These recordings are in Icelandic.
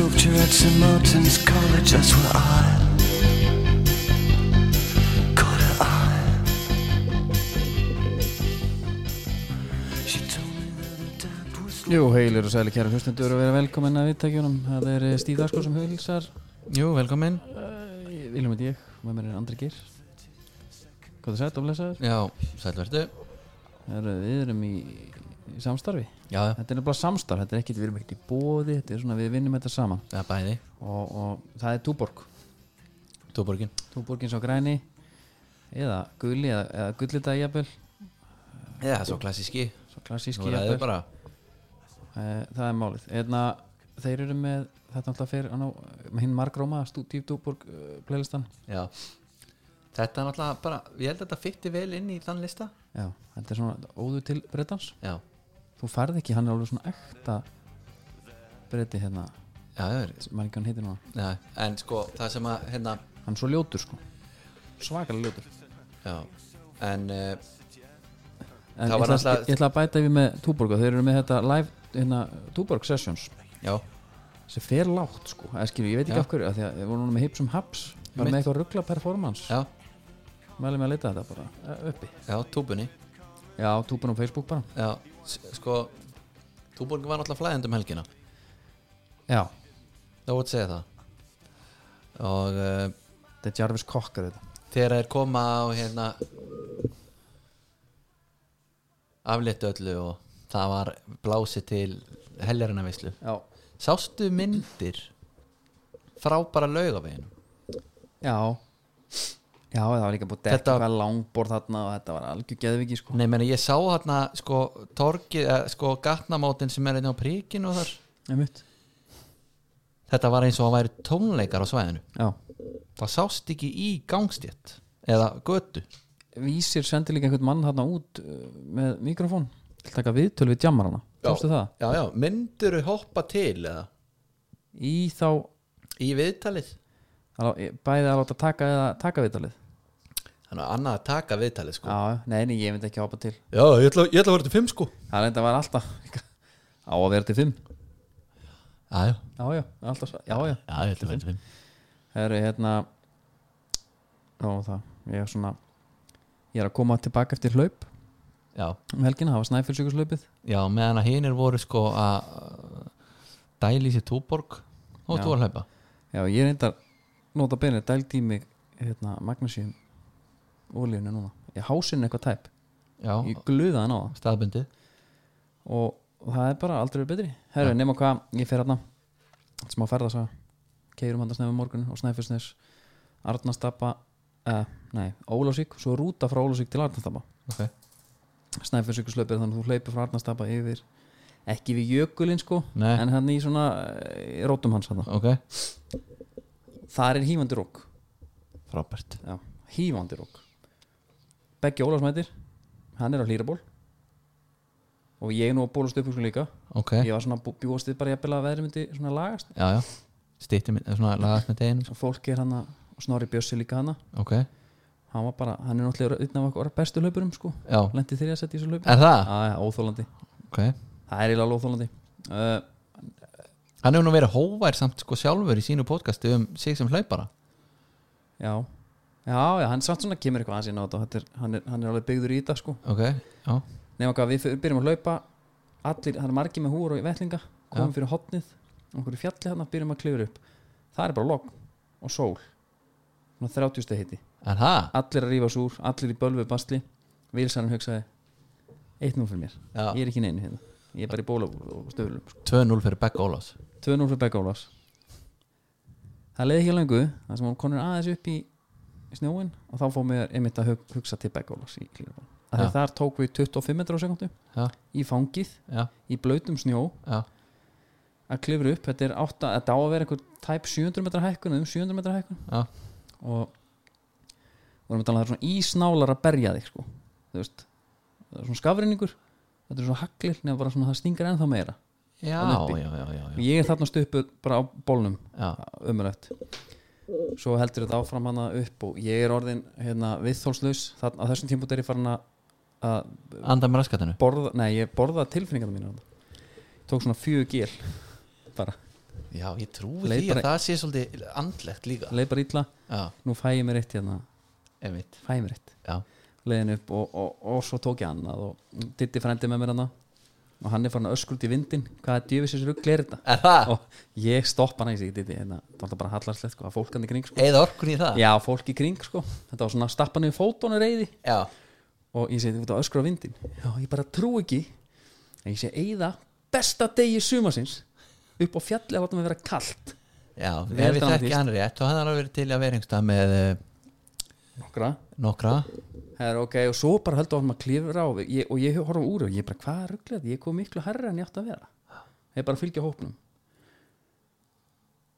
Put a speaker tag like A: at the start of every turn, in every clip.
A: St. Martin's College, that's where I caught her eye. She told me that her dad was
B: Jú, heilir og sæli kæra hlustendur og vera velkomin að viðtækjunum Það er eh, Stíð Darko sem heilsar
C: Jú, velkomin
B: Viljum heit ég, og með mér er Andri Geir Hvað það sætt og blessaður?
C: Já, sælverdu
B: Heru, Við erum í, í samstarfi
C: Já,
B: Þetta er nefnilega samstarf, þetta er ekkit, við erum ekkit í bóði Þetta er svona, við vinnum þetta saman
C: það er bæði
B: og, og það er Túborg
C: Túborgin
B: Túborgin sá græni eða gulli eða, eða gullita jafnvel
C: Já, svo klassíski
B: Svo klassíski
C: Nú er
B: jafnvel
C: það bara
B: Eh, það er málið Einna, þeir eru með þetta alltaf fyrir á, með hinn margróma Stúdíf Dúborg uh, playlistan
C: Já Þetta er náttúrulega bara Ég held að þetta fytti vel inn í þann lista
B: já, þetta er svona óðu til brettans
C: Já,
B: þú færð ekki, hann er alveg svona ekta bretti hérna
C: já, það er
B: sem maður ekki hann heitir núna
C: Já, en sko það sem að hérna
B: hann er svo ljótur sko svakalega ljótur
C: Já En uh,
B: en
C: Það
B: ég
C: var
B: ætla,
C: náttúrulega-
B: ég ætla að bæta yfir með Túborg og þeir eru með þetta live hérna, Túborg Sessions
C: já,
B: sem fer lágt sko, eða skilur, ég veit ekki
C: Já.
B: af hverju af því að við vorum núna með Hips um Haps bara með
C: Mitt.
B: eitthvað ruggla performance
C: já,
B: mælum við að leita þetta bara eh, uppi
C: já, túbunni
B: já, Túborg og Facebook bara
C: Já, s- sko Túborgin var náttúrulega flæðend um helgina
B: já,
C: Það voru að segja það Og uh,
B: Þetta er Jarvis Cocker þetta
C: þegar þeir koma og hérna afléttu öllu og það var blásið til heljarinnavislu
B: Já,
C: sástu myndir frá bara laugavegin
B: já Já, það var líka búið að
C: Þetta-
B: dekka var... langborð þarna og þetta var algjör geðviki sko
C: nei meni ég sá hérna sko torkið, eh, sko gatnamótin sem er einn á príkinu og þar
B: Einmitt.
C: þetta var eins og að væri tónleikar á svæðinu
B: Já,
C: það sást ekki í gangstétt eða götu
B: Vísir sendi líka einhvern mann þarna út uh, með mikrofón til taka viðtöl við jammarana Tókstu það?
C: já, já, myndur hoppa til eða
B: Í þá
C: í viðtalið
B: að lá- bæði að láta taka eða taka viðtalið
C: þannig að annað að taka viðtalið sko
B: Já, nei, nei, ég myndi ekki hoppa til
C: já, ég ætla, ég ætla að vera til fimm sko
B: Það er þetta var alltaf á að vera til fimm
C: Já, já,
B: Já, já, alltaf, já, já
C: já, ég ætla að vera fimm
B: Það eru hérna Ó, það, ég er svona Ég er að koma tilbaka eftir hlaup
C: Já,
B: um helgina, það var snæfellsjökuslaupið
C: já meðan að hinir voru sko að dæli sér túborg og
B: Já.
C: þú var að hlaupa
B: já, ég reyndar nota beinir dældi í mig hérna, magnesium olíunni núna, ég hásinn eitthvað tæp
C: Já,
B: ég gluða hann á það
C: staðbundið
B: og, og það er bara aldrei verið betri herru, nema hvað, ég fer hérna smá ferðasa, keirum hann að snefum morgun og snæfelsnes, Arnastapa uh, nei, Ólásík svo rúta frá Ólásík til Arnastapa
C: okay.
B: snæfelsjökuslaupið, þannig að þú hleypir frá Arnastapa yfir, ekki við jökulinn sko,
C: Nei.
B: en hann í svona eh, rótum hans hann,
C: ok
B: þar er hífandi rók
C: Frábært
B: Já, hýfandi rók Beggi Ólafs mætir Hann er á hlýraból Og ég er nú að bólast upp ykkur líka
C: Ok,
B: Ég var svona bú- bjóst við bara jafnilega að veðri myndi svona lagast
C: já, já Stýtti minn, svona lagast með deginu
B: Og fólk er hann að snorri bjössi líka hana
C: Ok,
B: Hann var bara, hann er náttúrulega einn af okkar bestu laupurum sko
C: já,
B: Lendi þeirri að setja í þessu laup
C: er það?
B: Það er óþólandi,
C: Ok
B: það er eiginlega óþólandi uh,
C: Hann hefur nú verið hóvær samt sko sjálfur í sínu podcasti um sig sem hlaupara
B: Já Já, já, hann samt svona kemur eitthvað aðeins inn á þetta og þetta er, hann, er, hann er alveg byggður í þetta sko
C: Ok, já,
B: Nefnum hvað, við fyr- byrjum að hlaupa Allir, það er margir með húur og vellinga Komum fyrir hotnið, okkur í fjalli hann Byrjum að klifra upp, það er bara logn Og sól, svona 30 steg hiti
C: er það?
B: Allir að rífa sig úr, allir í bölvu bastli Vilsarinn hugsaði Eitt nú fyrir mér, ég
C: Já,
B: er ekki neinu hérna Ég er bara í bóla og stöflum sko.
C: 2-0 fyrir Beck Ólafs
B: 2-0 fyrir Begga Ólafs Það leiði ekki lengu Það sem hún konur aðeins upp í snjóin Og þá fór mér einmitt að hug- hugsa til Begga Ólafs í klíðarbóla
C: Já.
B: Þar tók við 25 metra á sekundu
C: Já,
B: í fangið
C: já,
B: í blautum snjó
C: já,
B: að klifra upp, þetta er átta, þetta á að vera einhver tæp 700 metra hækkun, eða um 700 metra hækkun
C: já,
B: og vorum að tala um það er svona ísnálar að berja þig sko, þú veist það er svona skafrinningur, þetta er svona haglir nema bara svona það stingar ennþá meira
C: já,
B: uppi.
C: já, já, já,
B: og
C: já.
B: ég er þarna stöpuð bara á bólnum
C: já.
B: ömulegt svo heldur þetta áfram hana upp og ég er orðin hérna viðþólslaus þarna á þessum tímpúti er ég farin að- að
C: Anda með raskatinu
B: borða, nei ég borða tilfinningarna mínu tók svona fjögur gél bara
C: já, ég trúi
B: Leit
C: því að
B: bara-
C: það sé svolítið andlegt líka
B: leið bara illa,
C: já,
B: nú fæ ég mér eitt hérna,
C: einmitt
B: fæ ég mér eitt
C: já,
B: leiðin upp og, og, og svo tók ég annað og ditti frendi með mér hann og hann er farin að öskult í vindin hvað er djöfisins rugl er þetta
C: er það?
B: og ég stoppa hann eins í ditti hérna, það var þetta bara hallarslegt sko, að fólk hann í kring sko.
C: eða orkun í það?
B: já, fólk í kring sko, þetta var svona stappan yfir fótónu reyði
C: já,
B: og ég segi þú veit að öskra á vindin já, ég bara trú ekki en ég segi eyða besta degi sumasins upp á fjalli að láta mig vera kalt
C: já,
B: Vel
C: ef við
B: dándist.
C: þekki hann rétt og hann har verið til að vera einhverstað með eh,
B: nokkra
C: nokkra
B: Her, ok, og svo bara heldur hann að klifra á og ég, og ég horf á úr og ég bara hvað er rugglega ég kom miklu herra en ég átti að vera ég bara fylgja hópnum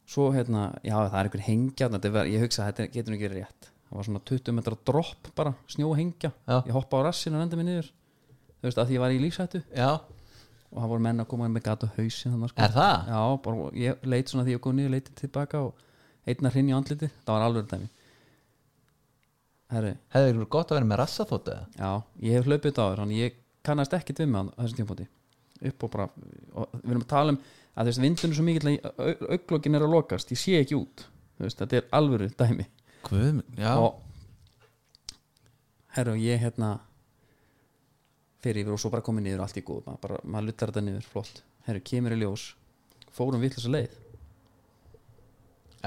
B: svo hérna, já það er einhvern hengja þarna, þetta var, ég hugsa að þetta getur nú ekki verið rétt það var svona 20 metra dropp bara snjóhengja,
C: Já.
B: ég hoppa á rassinu og enda mig niður þú veist að því ég var í lífshættu
C: já,
B: og það voru menn að koma með gata hausin þannig sko
C: er það?
B: Já, bara, ég leit svona því ég kom niður, leiti tilbaka og einna hrinn í andliti, það var alveg dæmi Herri,
C: hefði verið gott að vera með rassaþótt eða?
B: já, ég hef hlaupið þetta áður þannig ég kannast ekkit við með hann á þessum tímpóti upp og bara, og við erum að tala um að þessi vindun er svo mikill að auglokkin er að lokast, ég sé ekki út Þú veist, þetta er alvöru dæmi
C: Guðum, já,
B: og herru, ég hérna fyrir yfir og svo bara komið niður allt í góð, maður, bara, maður luttar þetta niður, flott herru, kemur í ljós, fórum vitlis leið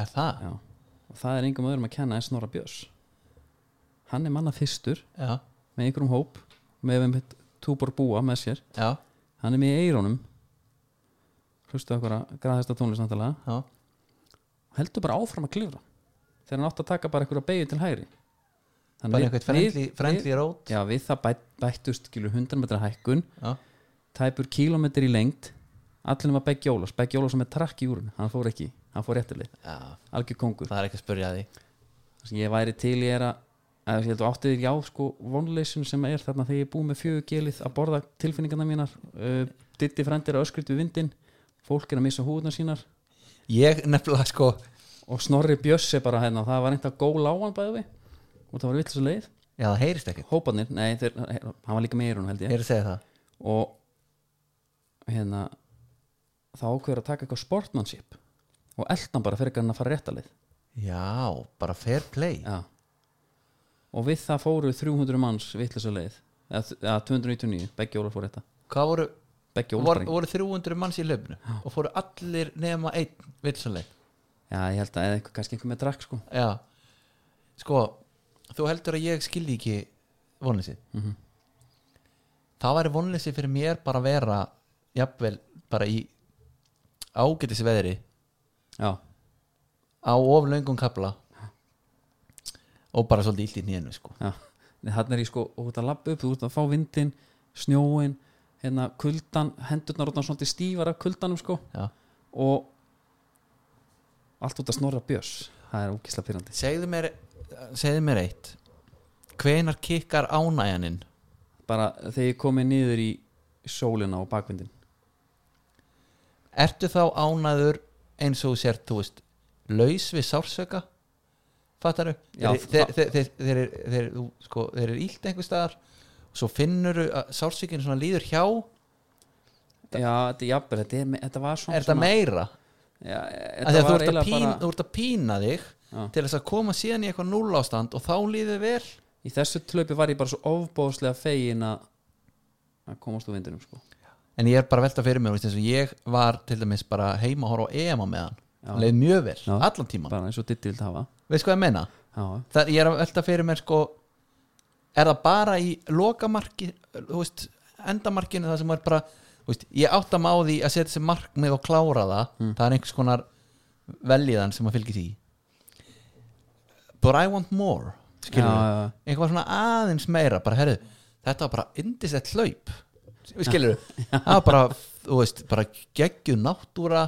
C: er það?
B: Já, og það er engum öðrum að kenna en Snorra Björns Hann er manna fyrstur
C: já,
B: með einhverjum hóp með um túbor búa með sér
C: já,
B: Hann er með í eirónum hlustu okkur að graðasta tónlist náttúrulega
C: já
B: heldur bara áfram að klifra þegar hann átt að taka bara einhverja beigju til hægri Þannig
C: bara
B: við-
C: einhvern
B: við-
C: frendli, frendli rót
B: Já, við það bætt, bættust skilu 100 metra hækkun
C: já,
B: tæpur kílómetri í lengd allir nema Beggi Ólafs, Beggi Ólafs sem er trakk í úrun hann fór ekki, hann fór réttileg
C: já,
B: algjör kongur
C: það er ekki að spurja því
B: það sem ég væri til ég er að að ég held að átti þér já sko vonleysun sem er þarna þegar ég er búið með fjögur gelið að borða tilfinningarna mínar uh, ditti frendir að öskrit við vindin fólk er að missa húðuna sínar
C: ég nefnilega sko,
B: og snorri bjöss er bara hérna það var reynd að góla á hann bæði við og það var vill svo leið
C: já það heyrist ekkert
B: hópanir, nei þeir, hann var líka með eirun held ég
C: heyrið segja það,
B: og hérna þá ákveður að taka eitthvað sportmanship og eldan bara fyrir hann að fara réttalið
C: já, bara fair play
B: Já. og við það fóru 300 manns vittlösa leið eða eða 299, beggi óla fór þetta
C: hvað voru,
B: beggi óla
C: voru,
B: spreng
C: voru 300 manns í löfnu og fóru allir nema einn vilsanleik
B: já, ég held að eða einhver, kannski einhver með drakk sko
C: Já Sko, þú heldur að ég skildi ekki vonleysi
B: Mhm.
C: Það væri vonleysi fyrir mér bara að vera jafnvel bara í ágætis veðri
B: já,
C: á oflöngum kapla og bara svolítið illt í nýjunu sko
B: já, þannig er ég sko og þú ert að labba upp, þú ert að fá vindin snjóin, hérna kuldan hendurnar orðnar svona til stífara kuldanum sko
C: Já.
B: og allt út að snorra björs það er úkisla pyrrandi
C: Segðu mér, segðu mér eitt Hvenar kikkar ánæjaninn?
B: bara þegar ég komið niður í sólina og bakvindin
C: Ertu þá ánæður eins og þú sért, þú veist, laus við sársöka? Fattaru?
B: Já,
C: þeir, þeir, þeir, þeir, þeir, þeir, þú- sko, þeir eru ílt einhver staðar og svo finnur að sársökinn svona líður hjá
B: já, þetta er jafnvel, þetta, er, me- þetta var svona
C: er þetta
B: svona-
C: meira?
B: Já, e,
C: Af því
B: þetta
C: að Þú
B: var
C: ert að,
B: eiginlega
C: pín,
B: bara
C: þú ert að pína þig
B: Já.
C: til þess að koma síðan í eitthvað núll ástand og þá líður vel
B: í þessu tlöpi var ég bara svo ofbóðslega fegin að að komast úr vindinum sko
C: en ég er bara að velta fyrir mér, þú veist, eins og ég var til dæmis bara heima að horfa á EMA meðan
B: Já.
C: leið mjög vel,
B: Já.
C: allan tíman
B: bara eins og Diddi vildi hafa
C: veist hvað ég meina?
B: já,
C: það, ég er að velta fyrir mér sko er það bara í lokamarki þú veist, endamarkinu það sem er bara, þú veist, ég átta mig á því að setja sér markmið og klára það
B: Hmm.
C: það er einhvers konar veljiðan sem að fylgir því but I want more
B: já,
C: skilur við,
B: já,
C: einhvað svona aðeins meira bara herðu, þetta var bara indislegt hlaup skilur við, það var bara þú veist, bara geggjum náttúra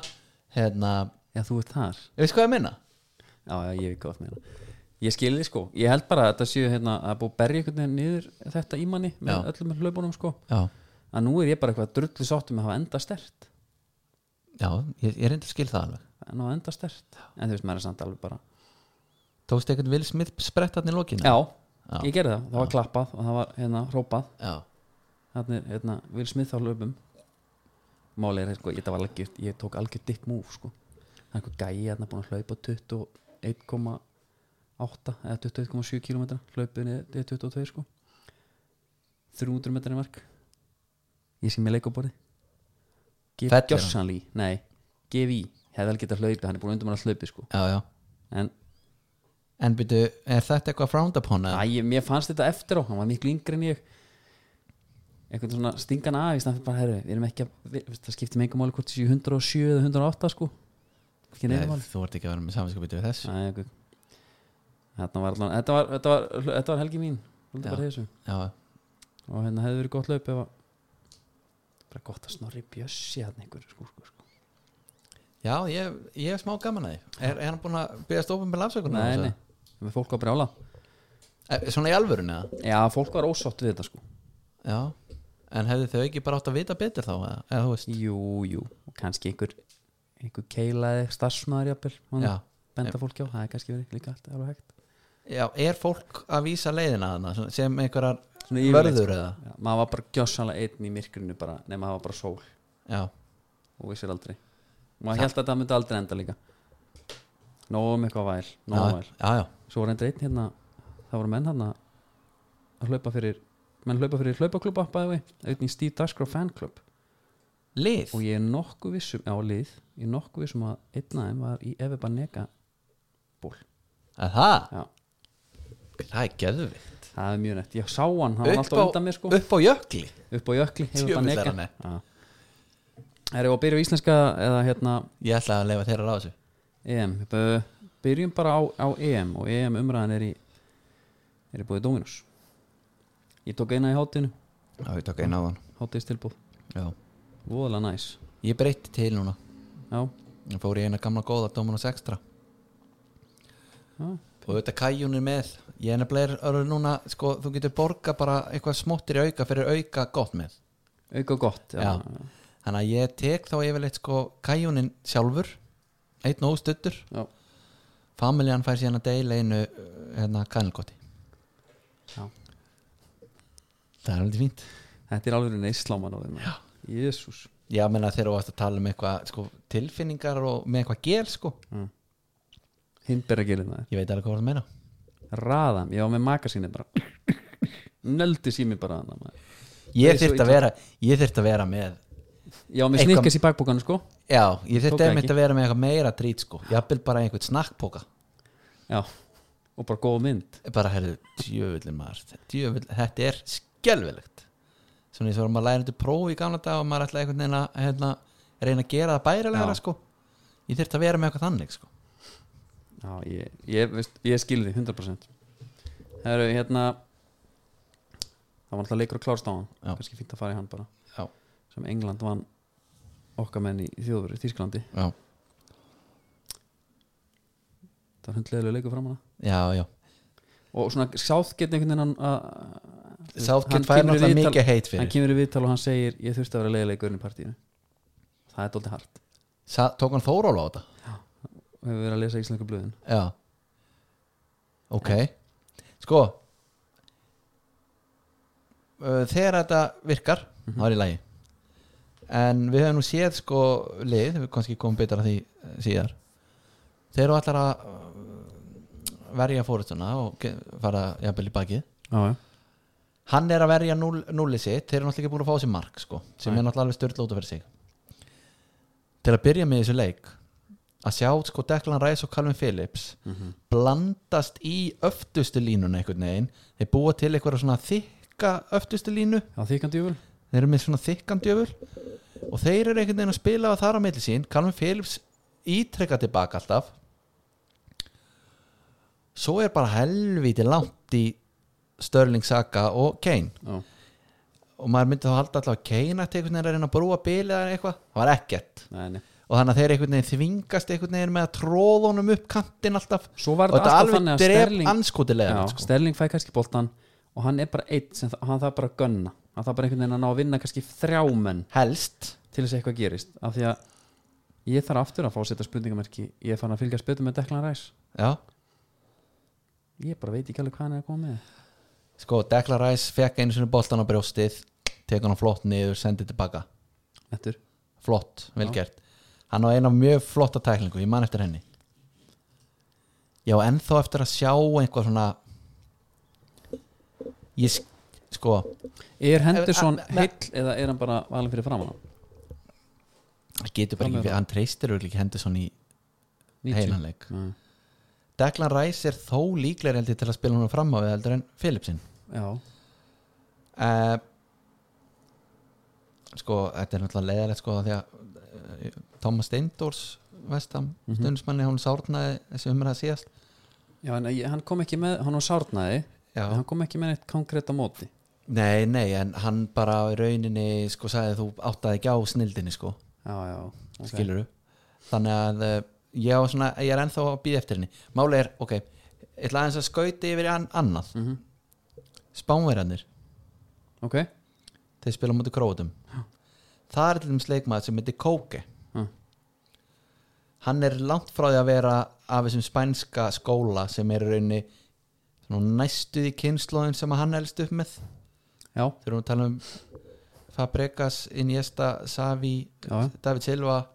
C: hérna,
B: já, þú ert þar
C: ég veist hvað ég meina
B: já, já, ég veit hvað það meina ég skil þið sko, ég held bara að þetta séu hérna að búið að berja einhvern veginn niður þetta í manni með
C: Já.
B: öllum hlaupunum sko
C: já,
B: að nú er ég bara eitthvað drullu sáttum að hafa enda stert
C: já, ég, ég reyndi að skil það alveg
B: en á enda stert, en þú veist maður er samt alveg bara
C: Tókst eitthvað Will Smith sprettarni í lokinu?
B: já,
C: Já.
B: ég gerði það, það var klappað og það var hérna hrópað
C: Já.
B: þannig er, hérna, Will Smith á löpum máli er, sko, ég, þetta var algjör, ég tók algjör ditt múf sko. það er einhver gæi hérna búin að hlaupa 21,8 eða 21,7 km hlaupið niður- niður 22 sko 300 metrar í mark ég sé mér leikaborði
C: Fellur hann?
B: Gjörsanlí, nei GV, hefði alveg getað hlaupið, hann er búin að undumann að hlaupi sko
C: já, já
B: en
C: En byrju, er þetta eitthvað frowned upon eða?
B: Æ, mér fannst þetta eftir á, hann var miklu yngri en ég einhvern svona stingan af í stand fyrir bara, herru, við erum ekki að við, veist, það skiptir með einhver máli hvort þessi 107 eða 108 sko ekki
C: Nei,
B: nefnum máli
C: þú ert ekki að vera með saminskapið við þess
B: Æ, einhver- Þarna var allan- þetta var, þetta, var, þetta var helgi mín Vildi
C: Já.
B: bara í þessu.
C: Já,
B: og hérna hefði verið gott laup ef að bara gott að snorri bjössi hann einhver sko, sko, sko.
C: já ég, ég er smá gaman að því Er, er hann búin að byrja stópum með lafsökunar?
B: nei, nei, með fólk var brjála
C: Eh, Svona í alvörunni eða?
B: já, fólk var ósátt við þetta sko
C: Já En hefðu þau ekki bara átt að vita betur þá eða? Eða þú veist
B: jú, jú, og kannski einhver einhver keilaði starfsmaður jafnvel hann-
C: Já
B: benda fólki á, það er kannski verið líka allt alveg hægt
C: Já, er fólk að vísa leiðina þarna svona sem einhverjar
B: Svona yfirleitt, sko.
C: vörður eða?
B: Já, maður var bara gjössanlega einn í myrkrinu bara, nema það var bara sól
C: Já,
B: og vissir aldrei maður held að það myndi aldrei enda líka nógum eitthvað væl, nógum
C: já,
B: væl
C: já, já.
B: svo var reyndar einn hérna, það voru menn hérna að hlaupa fyrir menn hlaupa fyrir hlaupaklubba bæði einn í Steve Dashgrove fanclub
C: Lið?
B: og ég er nokkuð vissum, á lið ég er nokkuð vissum að einn af þeim var í Efe Banega ból,
C: Að það?
B: já,
C: Það er geðvikt
B: það er mjög nett ég sá hann, hann var
C: upp,
B: alltaf undan mér sko
C: á- upp á jökli
B: upp á jökli hefur
C: Djöfull
B: það
C: er
B: neka
C: hann eh. með.
B: er það að byrja á íslenska eða hérna
C: Ég ætla að leifa þeirra á þessu
B: EM Bö- byrjum bara á, á EM og EM umræðan er í er í búið Dominus ég tók eina í hátinu
C: Já, ég tók einn á hann
B: hátis tilbúð,
C: Já.
B: voðalega næs
C: Ég breytti til núna
B: já,
C: Ég fór í eina gamla góða Dominus Extra
B: já,
C: Og þetta kæjun er með Ég er nefnilega er orðinn núna sko, Þú getur borga bara eitthvað smottir í auka fyrir auka gott með
B: auka gott já,
C: Já. Þannig að ég tek þá yfirleitt sko kæjunin sjálfur Einn og stuttur
B: já.
C: Familjan fær síðan að deila einu uh, hérna, kanilgoti
B: Já.
C: Það er alveg fínt
B: þetta er alveg neysláman á þeim jésús
C: Já, menna þegar þú varst að tala um eitthvað sko, tilfinningar og með eitthvað gel sko.
B: hindberra gerir það
C: Ég veit alveg hvað það meina
B: raðam, ég var með makasíni bara nöldi sími bara þarna, maður.
C: Ég
B: er svo
C: þyrfti að
B: illa.
C: vera Ég þyrfti að vera með
B: ég var með
C: Eitthvað-
B: snikkas í bakbókanu sko
C: Já, ég
B: Tók
C: þyrfti
B: það
C: einmitt
B: ekki.
C: að vera með eitthvað meira trít sko Jafnvel bara einhvern snakkpoka
B: já, og bara góð mynd
C: Bara herðu, djöfullin maður djöfull, Þetta er skelfilegt Svona eins og vorum að læra þetta prófi í gamla dag og maður ætla einhvern veginn að hérna, reyna að gera það bærilega
B: Já.
C: sko Ég þyrfti að vera með eitthvað þannig sko
B: Já, ég, ég, veist, ég skil því 100% Það eru hérna Það var alltaf leikur að klárast á hann
C: Já.
B: Kannski fínt að fara í hann bara
C: Já.
B: Sem England vann okkar menn í þjóðveru Þísklandi,
C: Já,
B: það var hundleðilega leikur fram hana
C: já, já
B: Og svona Southgate einhvern veginn hann að-
C: Southgate
B: hann
C: fær
B: kemur í
C: náttúrulega
B: viðtal-
C: mikið heit
B: Hann
C: fyrir
B: kemur í viðtal og hann segir Ég þurfti að vera leiðilegur í partíinu Það er dóldi hart
C: Sa, Tók hann Þóróla á þetta?
B: og hefur verið að lesa íslenska blöðin
C: Já Ok Sko uh, Þegar þetta virkar þá er í lagi En við höfum nú séð sko lið Við kannski komum betur að því eh, síðar Þeir eru allar að uh, verja fórustuna og ge- fara jafnvel í bakið
B: Já, já,
C: Hann er að verja núll, núlið sitt Þeir eru náttúrulega ekki búin að fá sér mark sko, sem
B: Nei.
C: er náttúrulega alveg styrla út að vera sig Til að byrja með í þessu leik að sjá sko Declan Rice og Calvin Phillips blandast í öftustu línuna einhvern veginn þeir búa til einhverja svona þykka öftustu línu
B: já þýkandi jöful
C: þeir eru með svona þykkan djöfur og þeir eru einhvern veginn að spila á þar á milli sín Calvin Phillips ítrekka tilbaka alltaf svo er bara helviti langt í Störling Saka og Kane
B: Já,
C: og maður myndi þá halda alltaf að Kane ætti einhvern veginn að reyna að brúa bilið eða eitthvað það var ekkert
B: nei, nei
C: og þannig að þeir einhvern veginn þvingast einhvern veginn með að tróða honum upp kantinn alltaf
B: Svo var
C: og
B: þetta alltaf
C: þetta alveg
B: þannig að
C: dref
B: Sterling
C: anskotilega
B: Já, sko, Sterling fæ kannski boltan og hann er bara eitt sem það, hann þarf bara að gunna hann þarf bara einhvern veginn að ná að vinna kannski þrjá menn
C: helst
B: til þess að eitthvað gerist af því að ég þarf aftur að fá að setja spurningamerki ég er farin að fylgjast betur með Declan Rice
C: já.
B: ég bara veit ekki alveg hvað hann er að koma með
C: sko Declan Rice fekk einu sinni boltan á brjóstið tekur hann flott niður, sendið tilbaka
B: Nettur,
C: flott, vel
B: Já.
C: gert hann á eina mjög flotta tæklingu, ég man eftir henni já, ennþá eftir að sjá einhvað svona ég sk- sko
B: Er Henderson
C: Eh, eh, eh,
B: heill eða er hann bara valin fyrir framann á?
C: hann getur bara
B: Framlega.
C: ekki, hann treystir örugglega ekki hendur svona í
B: 90?
C: heilanleik
B: Nei.
C: Declan Rice er þó líklegri heldur til að spila hún fram á við heldur en Philipsin
B: Já,
C: uh, sko, þetta er náttúrulega leiðilegt sko því að uh, Thomas Steindors vestam, mm
B: Mhm.
C: stundismanni hún sárnaði þessi umræða síðast
B: Já en ég- hann kom ekki með, hann var sárnaði
C: Já.
B: en hann kom ekki með neitt konkrétt á móti
C: nei, nei, en hann bara í rauninni sko sagði þú áttaði ekki á snildinni sko,
B: Já, já, ok.
C: okay. skilur þannig að uh, ég, á svona, ég er ennþá að býða eftir henni máli er, ok, ég ætla aðeins að skauti yfir í an annað
B: Mhm.
C: spánverjarnir,
B: Ok,
C: þeir spila á móti króatum það er til dæmis leikmaður sem heitir Kóke
B: Já.
C: hann er langt frá því að vera af þessum spænska skóla sem er í rauninni svona næstuð í kynnslóðin sem að hann elst upp með
B: já,
C: þegar við tala um Fabregas, Iniesta, Savi
B: já, já.
C: David Silva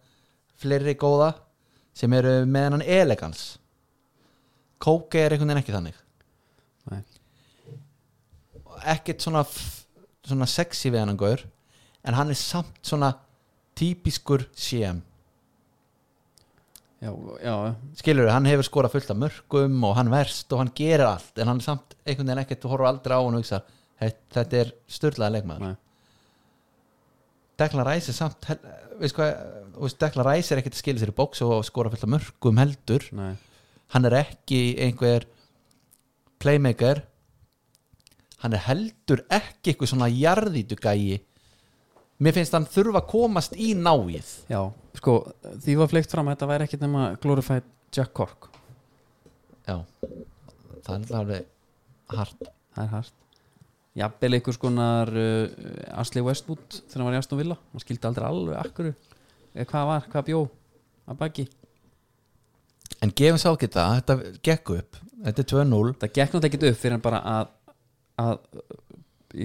C: fleiri góða sem eru með hann elegans Kóke er einhvern veginn ekki þannig
B: Nei.
C: ekkert svona f- svona sexy við hann gaur en hann er samt svona típiskur CM
B: já, já, já.
C: skilur, hann hefur skorað fullt af mörgum og hann verst og hann gerir allt en hann er samt einhvern veginn ekkert, þú horfur aldrei á hann og hugsa þetta er styrlaða leikmaður
B: Nei.
C: Dekla Ræs er samt hel- eh, veist hvað, þú veist, Dekla Ræs er ekkert að skilja sér í bóks og skora fullt af mörgum heldur
B: Nei.
C: hann er ekki einhver playmaker hann er heldur ekki eitthvað svona jarðítu gæi mér finnst hann þurfa að komast í náið
B: já, sko því var fleikt fram að þetta væri ekkit nema glorified Jack Cork
C: já, það er náttúrulega alveg hart
B: það er hægt jafnvel einhvers konar uh, Asli Westwood þegar hann var í Aston Villa hann skildi aldrei alveg akkur eða hvað var, hvað bjó að baki
C: en gefum sá ekki það, þetta gekk upp þetta er 2-0
B: það gekk náttúrulega ekkert upp fyrir hann bara að, að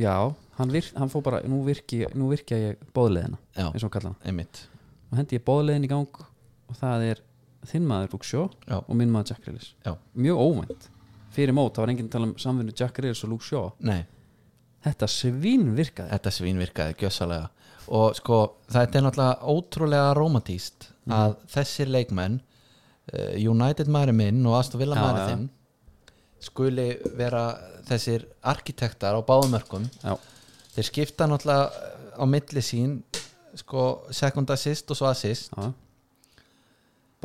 B: já, hann, virk, hann fór bara nú, virki, nú virkja ég bóðleðina
C: já,
B: eins og hann kalla hann
C: einmitt
B: og hendi ég bóðleðin í gang og það er þinn maður Luxjó
C: já,
B: og minn maður Jack Grealish
C: Já.
B: mjög óvænt fyrir mót, það var enginn að tala um samvinnu Jack Grealish og Luxjó
C: nei
B: þetta svín virkaði
C: þetta svín virkaði gjössalega og sko þetta er náttúrulega ótrúlega romantíst
B: Mm.
C: að þessir leikmenn eh, United maður minn og Aston Villa
B: Já,
C: maður
B: já.
C: þinn skuli vera þessir arkitektar á báðumörkum
B: já,
C: þeir skipta náttúrulega eh, á milli sín sko second assist og svo assist
B: já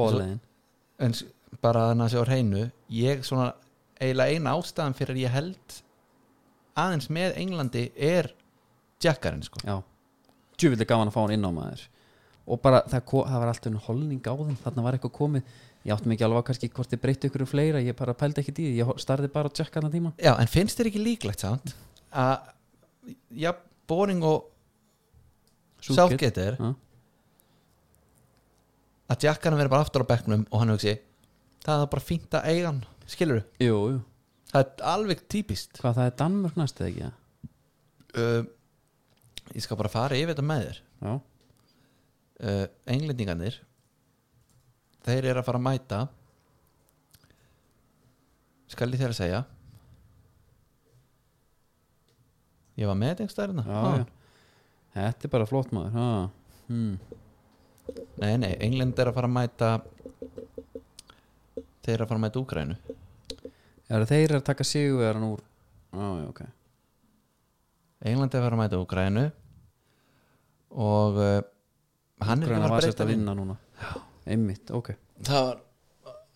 B: bóðleðin
C: en s- bara þannig að sjá hreinu ég svona eiginlega eina ástæðan fyrir að ég held aðeins með Englandi er Jackarinn sko
B: já, djúvillig gaman að fá hann inn á maður og bara það, ko- það var alltaf holning á þeim, þarna var eitthvað komið ég átti mikið alveg á kannski hvort þið breytti ykkur um fleira, ég bara pældi ekki því, ég ho- starði bara að tjekka allan tíma
C: Já, en finnst þér ekki líklegt samt að já, Boring og Southgate er
B: Já.
C: að Jackan verður bara aftur á bekknum og hann hugsi það er bara fínt að eiga hann skilur
B: jú, jú,
C: það er alveg típist
B: hvað það er Danmörk næst eða ekki já,
C: uh, ég skal bara fara yfir þetta með þér
B: já,
C: uh, englendingarnir þeir eru að fara að mæta skal ég þér að segja ég var með þetta einhvers hérna. staðarna
B: já. þetta er bara flott maður já, hmm.
C: Nei, nei, England er að fara að mæta Þeir eru að fara að mæta Úkrænu
B: er þeir eru að taka sigurvegaran úr já, já, ok
C: England er að fara að mæta Úkrænu Og uh, Hann er
B: Græna
C: ekki
B: var
C: að
B: sérst að
C: breyta
B: vinna núna einmitt, ok
C: Það var,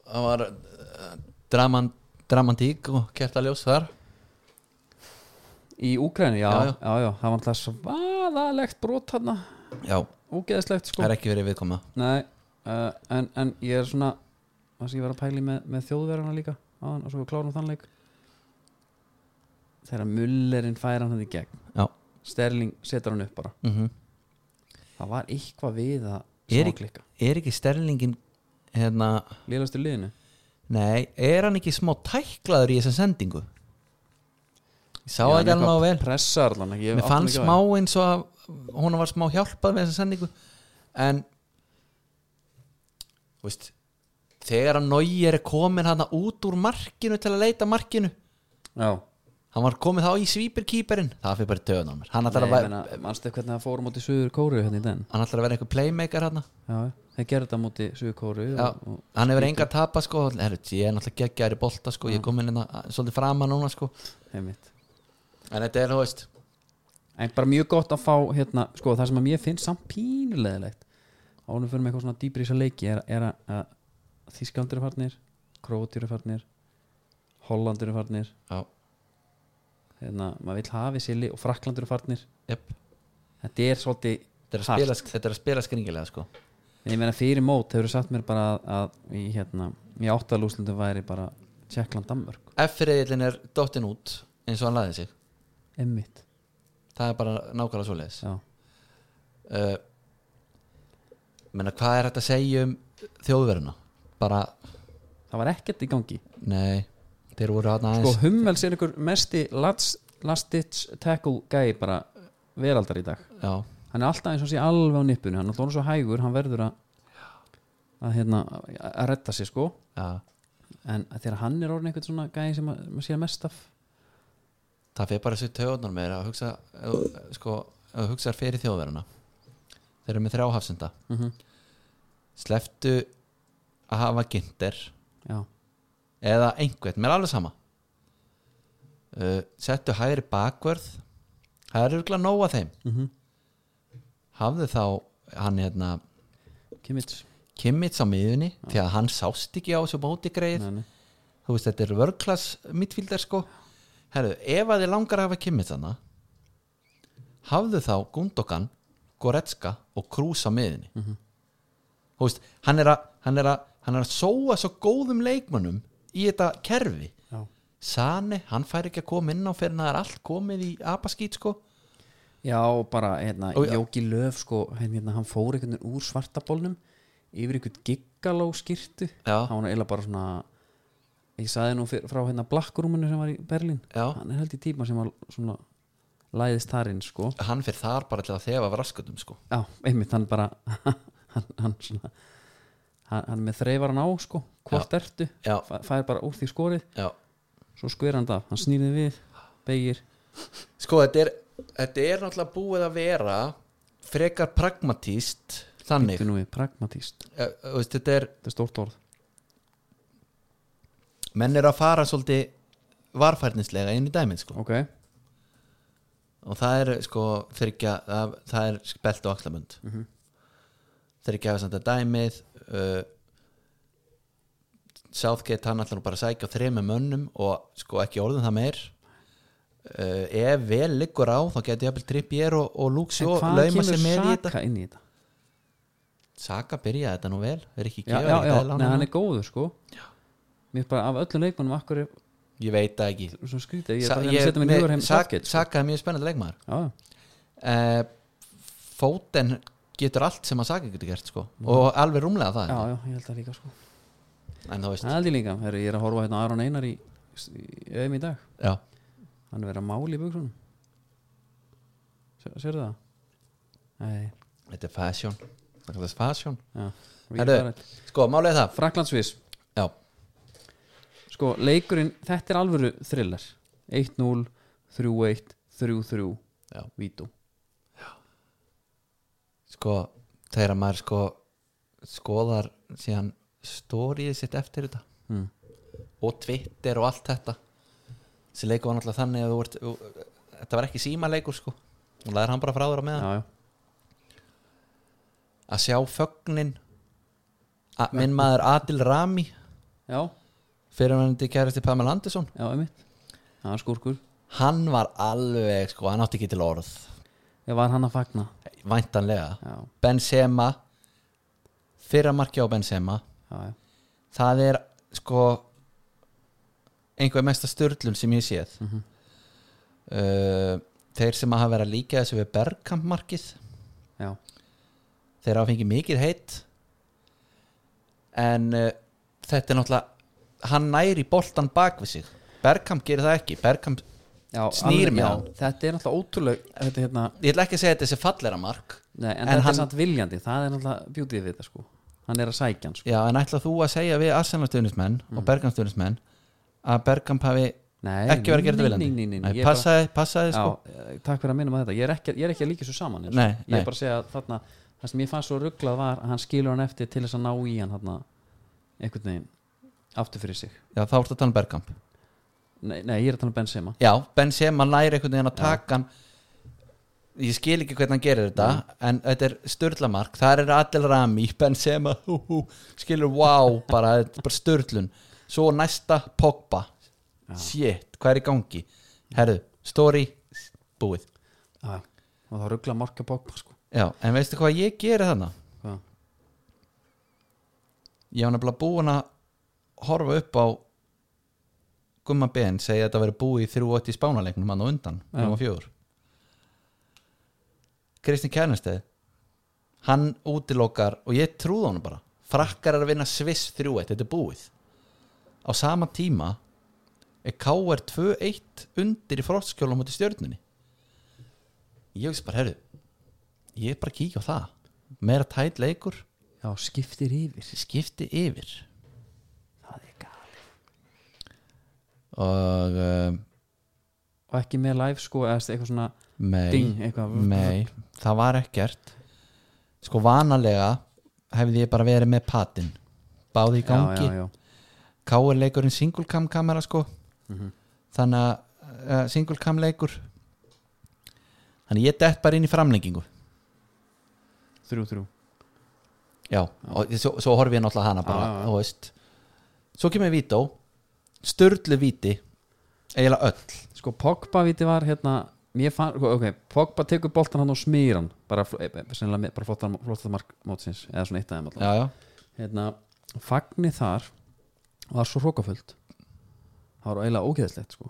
C: það var uh, draman, Dramantík og kerta ljós þar
B: í Úgræni, já,
C: Já,
B: já,
C: já.
B: já, það var alltaf svaðalegt brot hann
C: Já,
B: ógeðslegt sko
C: það er ekki verið viðkoma
B: Nei, uh, en, en ég er svona það sem ég var að pæli með, með þjóðverðana líka áðan, og svo við klárum þann leik þegar mullerinn færa hann í gegn
C: Já.
B: Sterling setur hann upp bara
C: mm
B: það var eitthvað við að
C: Er
B: smá
C: ekki-
B: klikka
C: Er ekki sterlingin Hérna,
B: liðast í liðinu
C: nei, er hann ekki smá tæklaður í þessa sendingu? Ég sá
B: Já,
C: þetta
B: en
C: alveg á
B: eitthvað
C: vel
B: pressar allan ekki, ég
C: Mér
B: átta mig
C: fannst
B: ekki á
C: smá eins og að hún var smá hjálpað með þessa sendingu en þú veist, þegar að Nói er komin hann út úr markinu til að leita markinu
B: Já
C: hann var komið þá í svípirkýperinn það fyrir bara töðan á mér hann ætlar
B: Nei,
C: að,
B: ég
C: vera-
B: meina, Manstu hvernig það fór á móti Suður Kóru hérna í den
C: hann ætlar að vera einhver playmaker hann
B: Já, þeir gerðu þetta á móti Suður Kóru
C: Já,
B: og, og,
C: hann hefur enga að tapa sko Heru, ég er náttúrulega geggjaður í bolta sko ég er komin hérna að- svolítið frama núna sko
B: einmitt.
C: en þetta er, þú veist,
B: En bara mjög gott að fá hérna, sko, það sem að mér finnst samt pínulegilegt Ánum fyrir mig eitthvað svona dýpri í þessa leiki er, er að- að Þískaldir er farnir Krótir er farnir Hollandir er farnir
C: Já.
B: Hérna, maður vill hafi sili og Fraklandur er farnir
C: jöp,
B: Þetta er svolítið
C: þetta er að
B: Hart.
C: spila, þetta er að spila skringilega sko
B: En ég meina fyrir mót hefur sagt mér bara að, að í, hérna, í áttalúslundum væri bara Tjekkland Danmörk,
C: F-reðilin er dottinn út eins og hann laði sig
B: emmitt
C: það er bara nákvæmlega svoleiðis
B: Já,
C: uh, menna hvað er þetta að segja um þjóðverðina bara,
B: það var ekkert í gangi
C: nei þeir voru hann
B: Sko
C: aðeins
B: Hummels er einhver mesti last, last ditch tackle gæi bara veraldar í dag
C: já,
B: Hann er alltaf eins og sé alveg á nippinu Hann er alltaf orðinn svo hægur, hann verður að að hérna, að redda sér sko
C: já,
B: en þegar hann er orðin einhvern svona gæi sem að- maður sé mest af
C: það fyrir bara þessu töðunar með að hugsa ef þú- sko, ef þú hugsaðar fyrir þjóðverðina þeir eru með þrjá hafsenda
B: mm
C: sleftu að hafa gindir
B: Já,
C: eða einhvern, mér er alveg sama uh, settu hægri bakvörð það er örgulega nóg að þeim
B: mm -hmm.
C: hafðu þá hann hérna
B: Kimmich
C: Kimmits á miðunni því að hann sást ekki á þessu móti greið
B: Nei, nei.
C: þú veist þetta er vörklass mittfíldar sko herru, ef að þið langar að hafa Kimmits hana hafðu þá Gundogan, Goretzka og Krús á miðunni þú veist, hann er að hann er að, hann er að sóa svo góðum leikmönnum í þetta kerfi
B: Já.
C: Sane, hann fær ekki að koma inn á fyrir en það er allt komið í apaskýt sko
B: Já, bara hérna,
C: Og-
B: Jóki Löf sko, hérna, hann fór einhvern veginn úr svartabólnum yfir einhvern giggaló skýrtu
C: Já.
B: hann var eiginlega bara svona ég saði nú fyr, frá hérna blakkurúminu sem var í Berlín
C: Já.
B: hann er held í tíma sem var svona læðist þarinn sko
C: hann fyrir þar bara til að þefa af raskutum sko
B: Já, einmitt hann bara hann, hann svona hann, hann með þreifar hann á sko hvort ertu,
C: Já.
B: Fæ- fær bara úr því skorið
C: já
B: svo skver hann það, hann snýrði við beigir,
C: Sko, þetta er, þetta er náttúrulega búið að vera frekar pragmatíst þannig,
B: byttu nú við, pragmatíst
C: Eh, þú veist, þetta er
B: þetta er stórt orð
C: menn er að fara svolítið varfærnislega inn í dæmið sko.
B: ok,
C: og það er sko fyrir ekki að það, það er belt og axlamund mm
B: Mhm.
C: -hmm. þeir ekki að hafa samt að dæmið uh, Southgate hann ætlar nú bara að sækja á þremur mönnum og sko ekki orðum það meir uh, ef vel liggur á þá geti jafnvel Trippier og, og Luke
B: en
C: Sjó
B: hvað
C: lauma
B: kemur
C: sér meir í þetta
B: Saka inn í þetta?
C: Saka byrjaði þetta nú vel er ekki
B: já,
C: gefið
B: já, já, nei, hann er góður sko mér bara af öllum leikmannum akkur er
C: ég veit það ekki
B: svo skrítið, ég er
C: Sa-
B: bara að reyna
C: ég-
B: að setja mér
C: mér-
B: hugur heim
C: Sa-
B: Southgate, sko.
C: Saka er mjög spennandi leikmaður
B: já,
C: uh, Fóten getur allt sem að Saka getur gert sko. og alveg rúmlega það
B: Mhm. já, já, ég held það líka sko
C: en þú veist
B: það held ég líka, Heru, ég er að horfa hérna á Aron Einar í, í öðum í dag
C: já.
B: hann er verið að máli í buksunum Sér- sérðu það? nei,
C: þetta er fashion það kallast fashion
B: já
C: Herru, sko málið er það
B: Fraklandsvís,
C: já,
B: sko leikurinn þetta er alvöru thriller 1-0, 3-1, 3-3
C: já.
B: Vító
C: sko þegar maður sko skoðar síðan stóriðið sitt eftir þetta
B: Mm.
C: og Twitter og allt þetta þessi leikur var náttúrulega þannig að þú ert þú- þetta var ekki símaleikur sko og laður hann bara frá þér á meðan
B: já, já,
C: að sjá fögnin að minn maður Adil Rami
B: já,
C: fyrir hann til kæristi Pamela Andersson
B: já, emitt það er skúrkur
C: hann var alveg sko, hann átti ekki til orð
B: Ég var hann að fagna
C: væntanlega
B: Já,
C: Benzema fyrra marki á Benzema
B: já, já,
C: það er sko einhver mesta störlun sem ég séð mm
B: Mhm.
C: þeir sem hafa verið að líka þessu við Bergkamp markið
B: já.
C: þeir hafa fengið mikið heitt en uh, þetta er náttúrulega hann næri boltan bak við sig Bergkamp gerir það ekki Bergkamp,
B: já
C: Snýr
B: alveg-
C: með
B: já,
C: hann.
B: Þetta er náttúrulega ótrúleg þetta, er hérna,
C: ég ætla ekki að segja að þetta sé fallera mark
B: nei, En,
C: En
B: þetta
C: hann-
B: er samt viljandi Það er náttúrulega bjútið við þetta sko hann er að sækja hann sko.
C: Já, en ætla þú að segja við Arsenal-stöðnismenn
B: Mhm.
C: og Bergam-stöðnismenn að Bergam hafi
B: nei,
C: ekki verið að gera þetta
B: nei,
C: viljandi
B: nei, nei, nei,
C: Nei,
B: ég bara-
C: passaði, passaði sko
B: Já, eh, takk fyrir að minna maður þetta ég er ekki, ég er ekki að líka svo saman eins og-
C: Nei,
B: ég
C: nei.
B: er bara að segja að þarna það sem ég fannst svo rugglað var að hann skilur hann eftir til þess að ná í hann þarna einhvern veginn aftur fyrir sig
C: Já, þá ertu að tala um Bergkamp
B: nei, nei ég er að tala um Benzema
C: Já, Benzema læri einhvern veginn að taka hann Ég skil ekki hvernig hann gerir þetta En þetta er störlamark Þar er allir rami, Benzema hú, hú, Skilur, wow, bara, þetta er bara störlun Svo næsta Pogba Shit, hvað er í gangi? Herðu, story, búið
B: já, og þá ruggla marka bók sko.
C: Já, en veistu hvað ég geri þannig?
B: Hvað?
C: Ég var nefnilega búin að horfa upp á Gumma Ben segja að þetta verið búið í 3-8 í spánaleiknum hann á undan,
B: Já.
C: nummer 4 Kristinn Kjærnesteð hann útilokar og ég trúði honum bara frakkar er að vinna Sviss 3-1, þetta er búið á sama tíma er KR 2-1 undir í frottskjólum mútið stjörnunni ég veist bara, herru ég er bara að kíkja á það meira tætt leikur,
B: já skiptir yfir
C: skipti yfir
B: það er gali
C: og um,
B: og ekki með live sko eða eitthvað svona
C: mei,
B: ding eitthvað
C: mei, það var ekkert sko vanalega hefði ég bara verið með patinn báði í
B: já,
C: gangi,
B: já, já.
C: KR leikurinn single cam kamera sko
B: Mhm.
C: þannig að uh, single cam leikur þannig ég dett bara inn í framlengingu
B: þrjú þrjú
C: já, og ég- svo, svo horfi ég náttúrulega hana bara
B: Já, já, já.
C: þú veist svo kemur Vító, störlu Víti eiginlega öll
B: sko Pogba viti var hérna mér fann, ok, Pogba tekur boltan hann og smýr hann bara, fl- eh, sennilega með- bara flottar, flottar mark mótsins eða svona eitt aðeim allavega
C: já, já,
B: hérna, fagnir þar var svo hrókafullt það var eiginlega ógeðslegt sko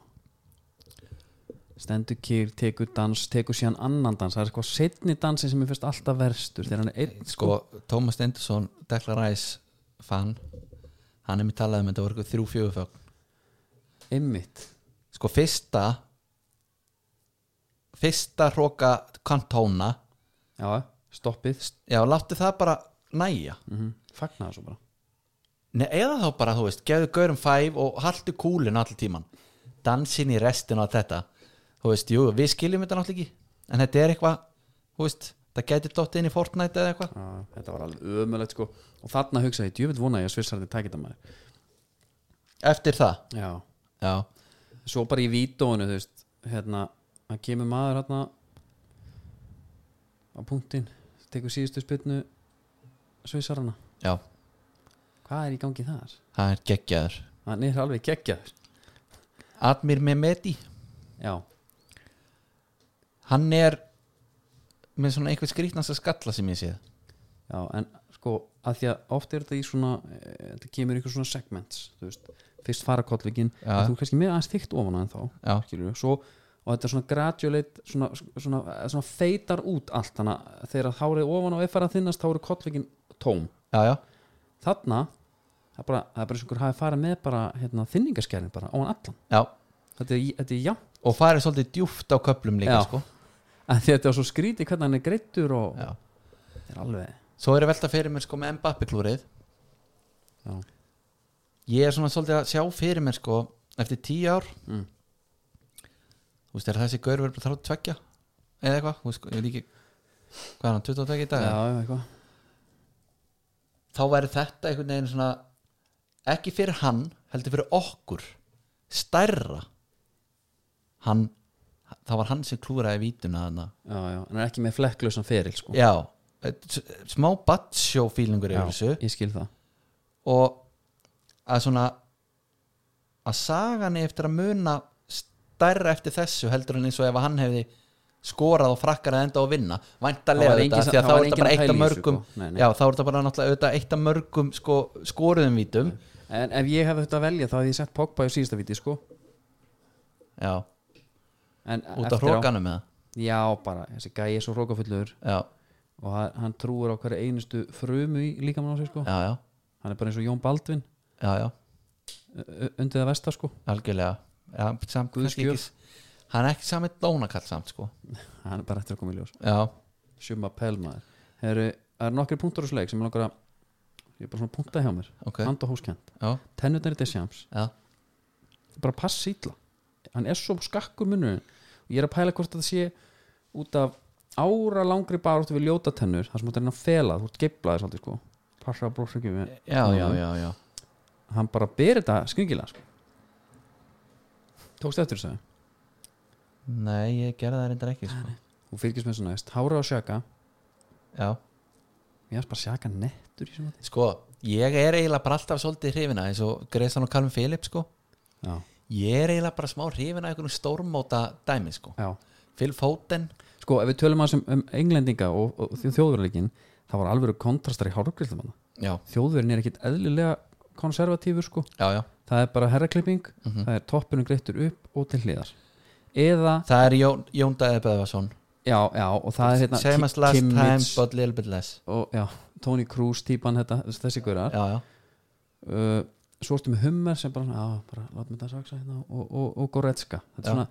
B: stendur kýr, tekur dans tekur síðan annan dans, það er sko setni dansin sem ég finnst alltaf verstur þegar hann er einn sko,
C: sko Tómas Stendursson, Dekla Ræs fan, hann er mér talað um þetta voru ykkur þrjú fjögur fögn
B: einmitt
C: sko fyrsta fyrsta hróka kantóna
B: já, stoppið,
C: já, láttu það bara næja
B: mm -hmm. fagnar það svo bara
C: Nei, eða þá bara, þú veist, gefðu gaurum fæf og haltu kúlin allir tíman dansin í restin og allt þetta þú veist, jú, við skiljum þetta náttúrulega ekki en þetta er eitthvað, þú veist það gæti dótt inn í Fortnite eða eitthvað
B: Já, þetta var alveg ömulegt sko og þarna hugsaði, ég, djöfitt vona ég að svissarði tækita maður
C: eftir það,
B: já,
C: já,
B: svo bara í vítónu þú veist, hérna, hann kemur maður hérna á punktinn, tekur síðustu spilnu Svissarana
C: já,
B: hvað er í gangi þar?
C: það er geggjaður
B: hann er alveg geggjaður
C: Admir Mehmeti,
B: já,
C: hann er með svona einhver skrýtnasta skalla sem ég séð
B: já, en sko að því að oft er þetta í svona eh, þetta kemur ykkur svona segments þú veist, fyrst fara kollvíkin
C: Já.
B: þú er kannski meira aðeins þykkt ofan að en þá
C: já,
B: skilur, svo, og þetta er svona graduate svona, svona, svona feitar út allt þannig að þegar hárið ofan og er farið að þinnast þá eru kollvíkin tóm
C: já, já,
B: þarna það er bara, það er bara eins og einhver hafi farið með bara hérna, þinningaskerðin bara á hann allan
C: já
B: þetta er, þetta er jafn,
C: og farið svolítið djúft á köplum líka
B: Já.
C: sko
B: að þetta er svo skrítið hvernig hann er greittur og
C: já.
B: þetta er alveg
C: svo er ég að velta fyrir mér sko með Mbappi klúrið
B: Já.
C: ég er svona svolítið að sjá fyrir mér sko eftir tíu ár
B: Mm.
C: þú veist er þessi gaur verið bara þrátt tveggja eða eitthvað, þú veist, sko, ég veit ekki hvað er hann, 22 í dag
B: já, já, eitthvað
C: þá væri þetta einhvern veginn svona ekki fyrir hann, heldur fyrir okkur stærra hann það var hann sem klúraði vítuna þarna
B: já, já, hann er ekki með flekklausan feril sko.
C: já, eh, s- smá battsjó fílingur yfir þessu
B: ég skil það
C: og að svona að sagan eigi eftir að muna stærra eftir þessu heldur en eins og ef hann hefði skorað og frakkar að enda á að vinna væntalega
B: Það var engin
C: þetta,
B: sem-
C: því að
B: það
C: þá
B: var
C: er þetta
B: engin
C: bara
B: að
C: eitt
B: pæla
C: af
B: í þessu,
C: mörgum
B: sko. Nei, nei.
C: já, þá er þetta bara náttúrulega auðvitað eitt af mörgum sko, skoruðum vítum
B: en ef ég hefði þetta að velja þá hefði ég sett Pogba í síðasta viti sko.
C: já,
B: en
C: út
B: eftir á-
C: af hrókanum með
B: já, bara, þessi gæi er svo hrókafullur
C: já,
B: og hann- hann trúur á hverju einustu frumu í líkamann á sig sko.
C: já, já,
B: hann er bara eins og Jón Baldvin
C: já, já
B: ö- ö- undir það vestar sko.
C: algjörlega já, samt,
B: Guðs
C: kannski ekki, hann er ekki saman dónakall samt sko
B: hann er bara eftir að koma í ljós
C: já,
B: Sjumma Pelmaður Heru, Það eru nokkri punktur úr sleik sem ég langar að ég er bara svona punktað hjá mér
C: ok,
B: hand og hóskend,
C: já,
B: tennutnar í Deschamps
C: já,
B: bara passa ítla hann er svo skakkur munurinn og ég er að pæla hvort þetta sé út af ára langri baróttu við ljóta tennur þar sem þú ert að reyna að fela, þú ert geiflaði svolítið sko passa að brosa ekki við
C: já, já, já, já.
B: hann bara ber þetta skringilega sko. tókst eftir þessu
C: nei, ég gerði það reyndar ekki sko.
B: og fylgist með þessu næst, hára á sjaka
C: já,
B: ég hans bara sjaka nettur í sem
C: sko, ég er eiginlega bara alltaf svolítið hrifina eins og Greðsson og Kalvin Philip sko,
B: já,
C: ég er eiginlega bara smá hrifina einhvern stórmóta dæmi sko
B: já
C: Phil Foden,
B: sko, ef við tölum aðeins um, um englendinga og, og þjóðverðarleikin, það var alveg kontrastar í hárgríslum hann
C: já,
B: þjóðverðin er ekkit eðlilega konservatífur sko,
C: já, já Mhm.
B: það er bara herraklipping það er toppunum greittur upp og til hliðar eða,
C: það er Jón, Jón Dæði Böðvarsson
B: já, já og það er hérna
C: same
B: Ki-
C: as last
B: Kimmich
C: time but little bit less
B: og já, Tony Cruz típan þetta, þessi guðar
C: já, já,
B: uh, svo ertu með Hummer sem bara, svona, já, bara látum þetta saksa hérna og, og, og Goretzka þetta
C: Já.
B: er svona,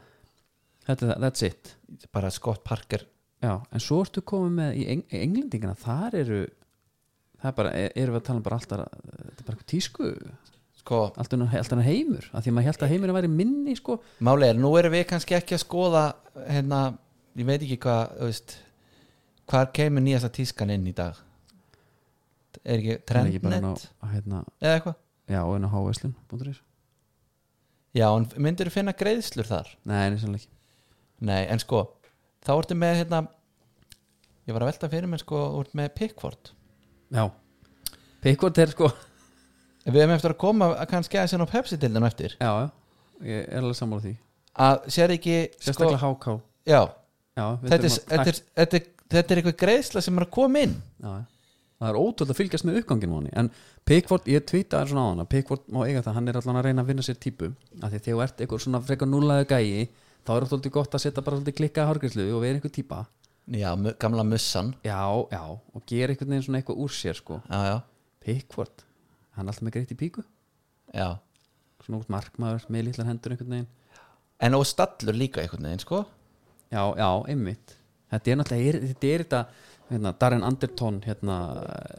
B: þetta er það, that's it
C: bara Scott Parker
B: já, en svo ertu komið með í, Eng í englendingina, þar eru það er bara, er- erum við að tala um bara alltaf þetta er bara eitthvað tísku,
C: sko,
B: allt annar allt annar heimur að því að maður held að heimurinn væri minni sko,
C: Málið er, nú erum við kannski ekki að skoða hérna, ég veit ekki hvað þú veist, hvað kemur nýjasta tískan inn í dag er ekki
B: Það er ekki bara inn á,
C: trendnet
B: hérna,
C: eða eitthvað,
B: já, og inn á háveslun.is
C: já, en myndir þú finna greiðslur þar?
B: Nei, nýsannlega ekki
C: Nei, en sko, þá ertu með hérna, ég var að velta fyrir mér sko, þú ert með Pickford
B: Já, Pickford er sko
C: við hefum eftir að koma að kannski aðeins inn á Pepsi-dildinu eftir,
B: Já, já, ég er alveg sammála því
C: Sko- að sér ekki sko,
B: Sérstaklega háká
C: já,
B: Já, við
C: þetta er,
B: þurfum að-
C: þetta, er, þetta, er, þetta er eitthvað greiðsla sem er að koma inn
B: Já, já. það er ótrúlega að fylgjast með uppgangin voni en Pickford, ég tvítaði svona á hana Pickford má eiga það, hann er allan að reyna að vinna sér típu af því að þegar þú ert eitthvað svona frekar núlaðu gæi þá er alltaf gott að setja bara svolítið klikkaða hárgrislu og vera einhver típa
C: já, mu- gamla mussan
B: já, já, og gera einhvern veginn svona eitthvað úr sér sko.
C: já, já,
B: Pickford, hann er alltaf með greitt í píku
C: já
B: svona út markmaður, með litlar hendur einhvern veginn
C: En og stallur líka einhvern veginn sko
B: já, já, einmitt þetta er náttúrulega, er- þetta er þetta hérna, Darren Anderton hérna,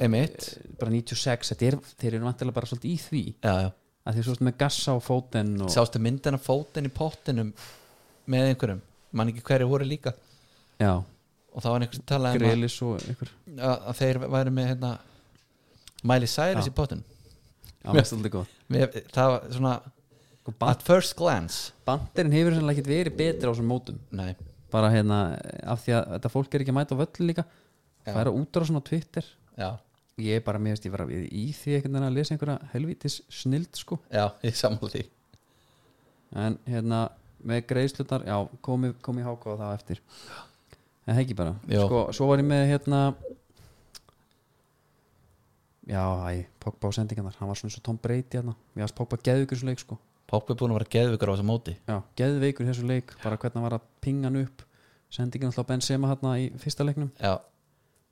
C: Einmitt
B: bara 96, þetta er, þeir eru vantilega bara svolítið í því
C: já, já.
B: að því svo ertu með gassa á fótinn og
C: Sástu myndina fótinn í pottinum með einhverjum, mann ekki hverju voru líka
B: já,
C: og þá var einhvers að tala um að,
B: greilis og ykkur
C: að að þeir væri með hérna, Miley Cyrus
B: Já.
C: í pottinum
B: já, mér finnst alltaf gott
C: Mér, það var svona
B: og band,
C: at first glance
B: bandirinn Sko, hefur sannlega ekkert verið betri á þessum mótum
C: Nei,
B: bara hérna, af því að þetta fólk er ekki að mæta á völlu líka
C: Já.
B: færa útra svona Twitter
C: já,
B: ég er bara, mér veist, ég var í því einhvern veginn að lesa einhverja helvítis snild sko
C: já, ég sammála því
B: en hérna, með greiðslutar já, komi, komi háka á það á eftir en hekki bara
C: Já.
B: sko, svo var ég með hérna já, æ, Pogba á sendingarnar hann var svona svo Tom Brady hérna mér varst Pogba geðugur svo leik sko
C: Poppi búin að vera geðvökur á þessu móti
B: Já, geðveikur í þessu leik bara hvernig hann var að pinga hann upp sendingin alltaf Benzema hérna í fyrsta leiknum
C: Já,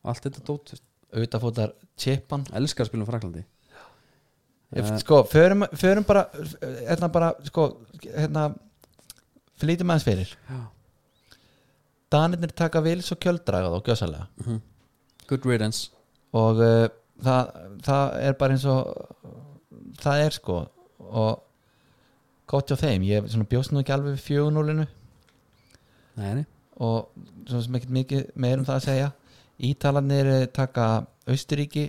B: allt þetta dót,
C: utafótar chipan
B: elskar að spila um Fraklandi
C: Ef- Sko, förum, förum bara hérna bara, sko hérna, flýtum aðeins fyrir
B: Já.
C: Danirnir taka vils og kjöldraga þá gjössalega
B: Good riddance
C: og uh, það, það er bara eins og það er sko og gott hjá þeim ég svona, bjóst nú ekki alveg við fjögunúlinu
B: Nei, nei,
C: og svona sem ekkert mikið meir um það að segja Ítalanir eh, taka Austuríki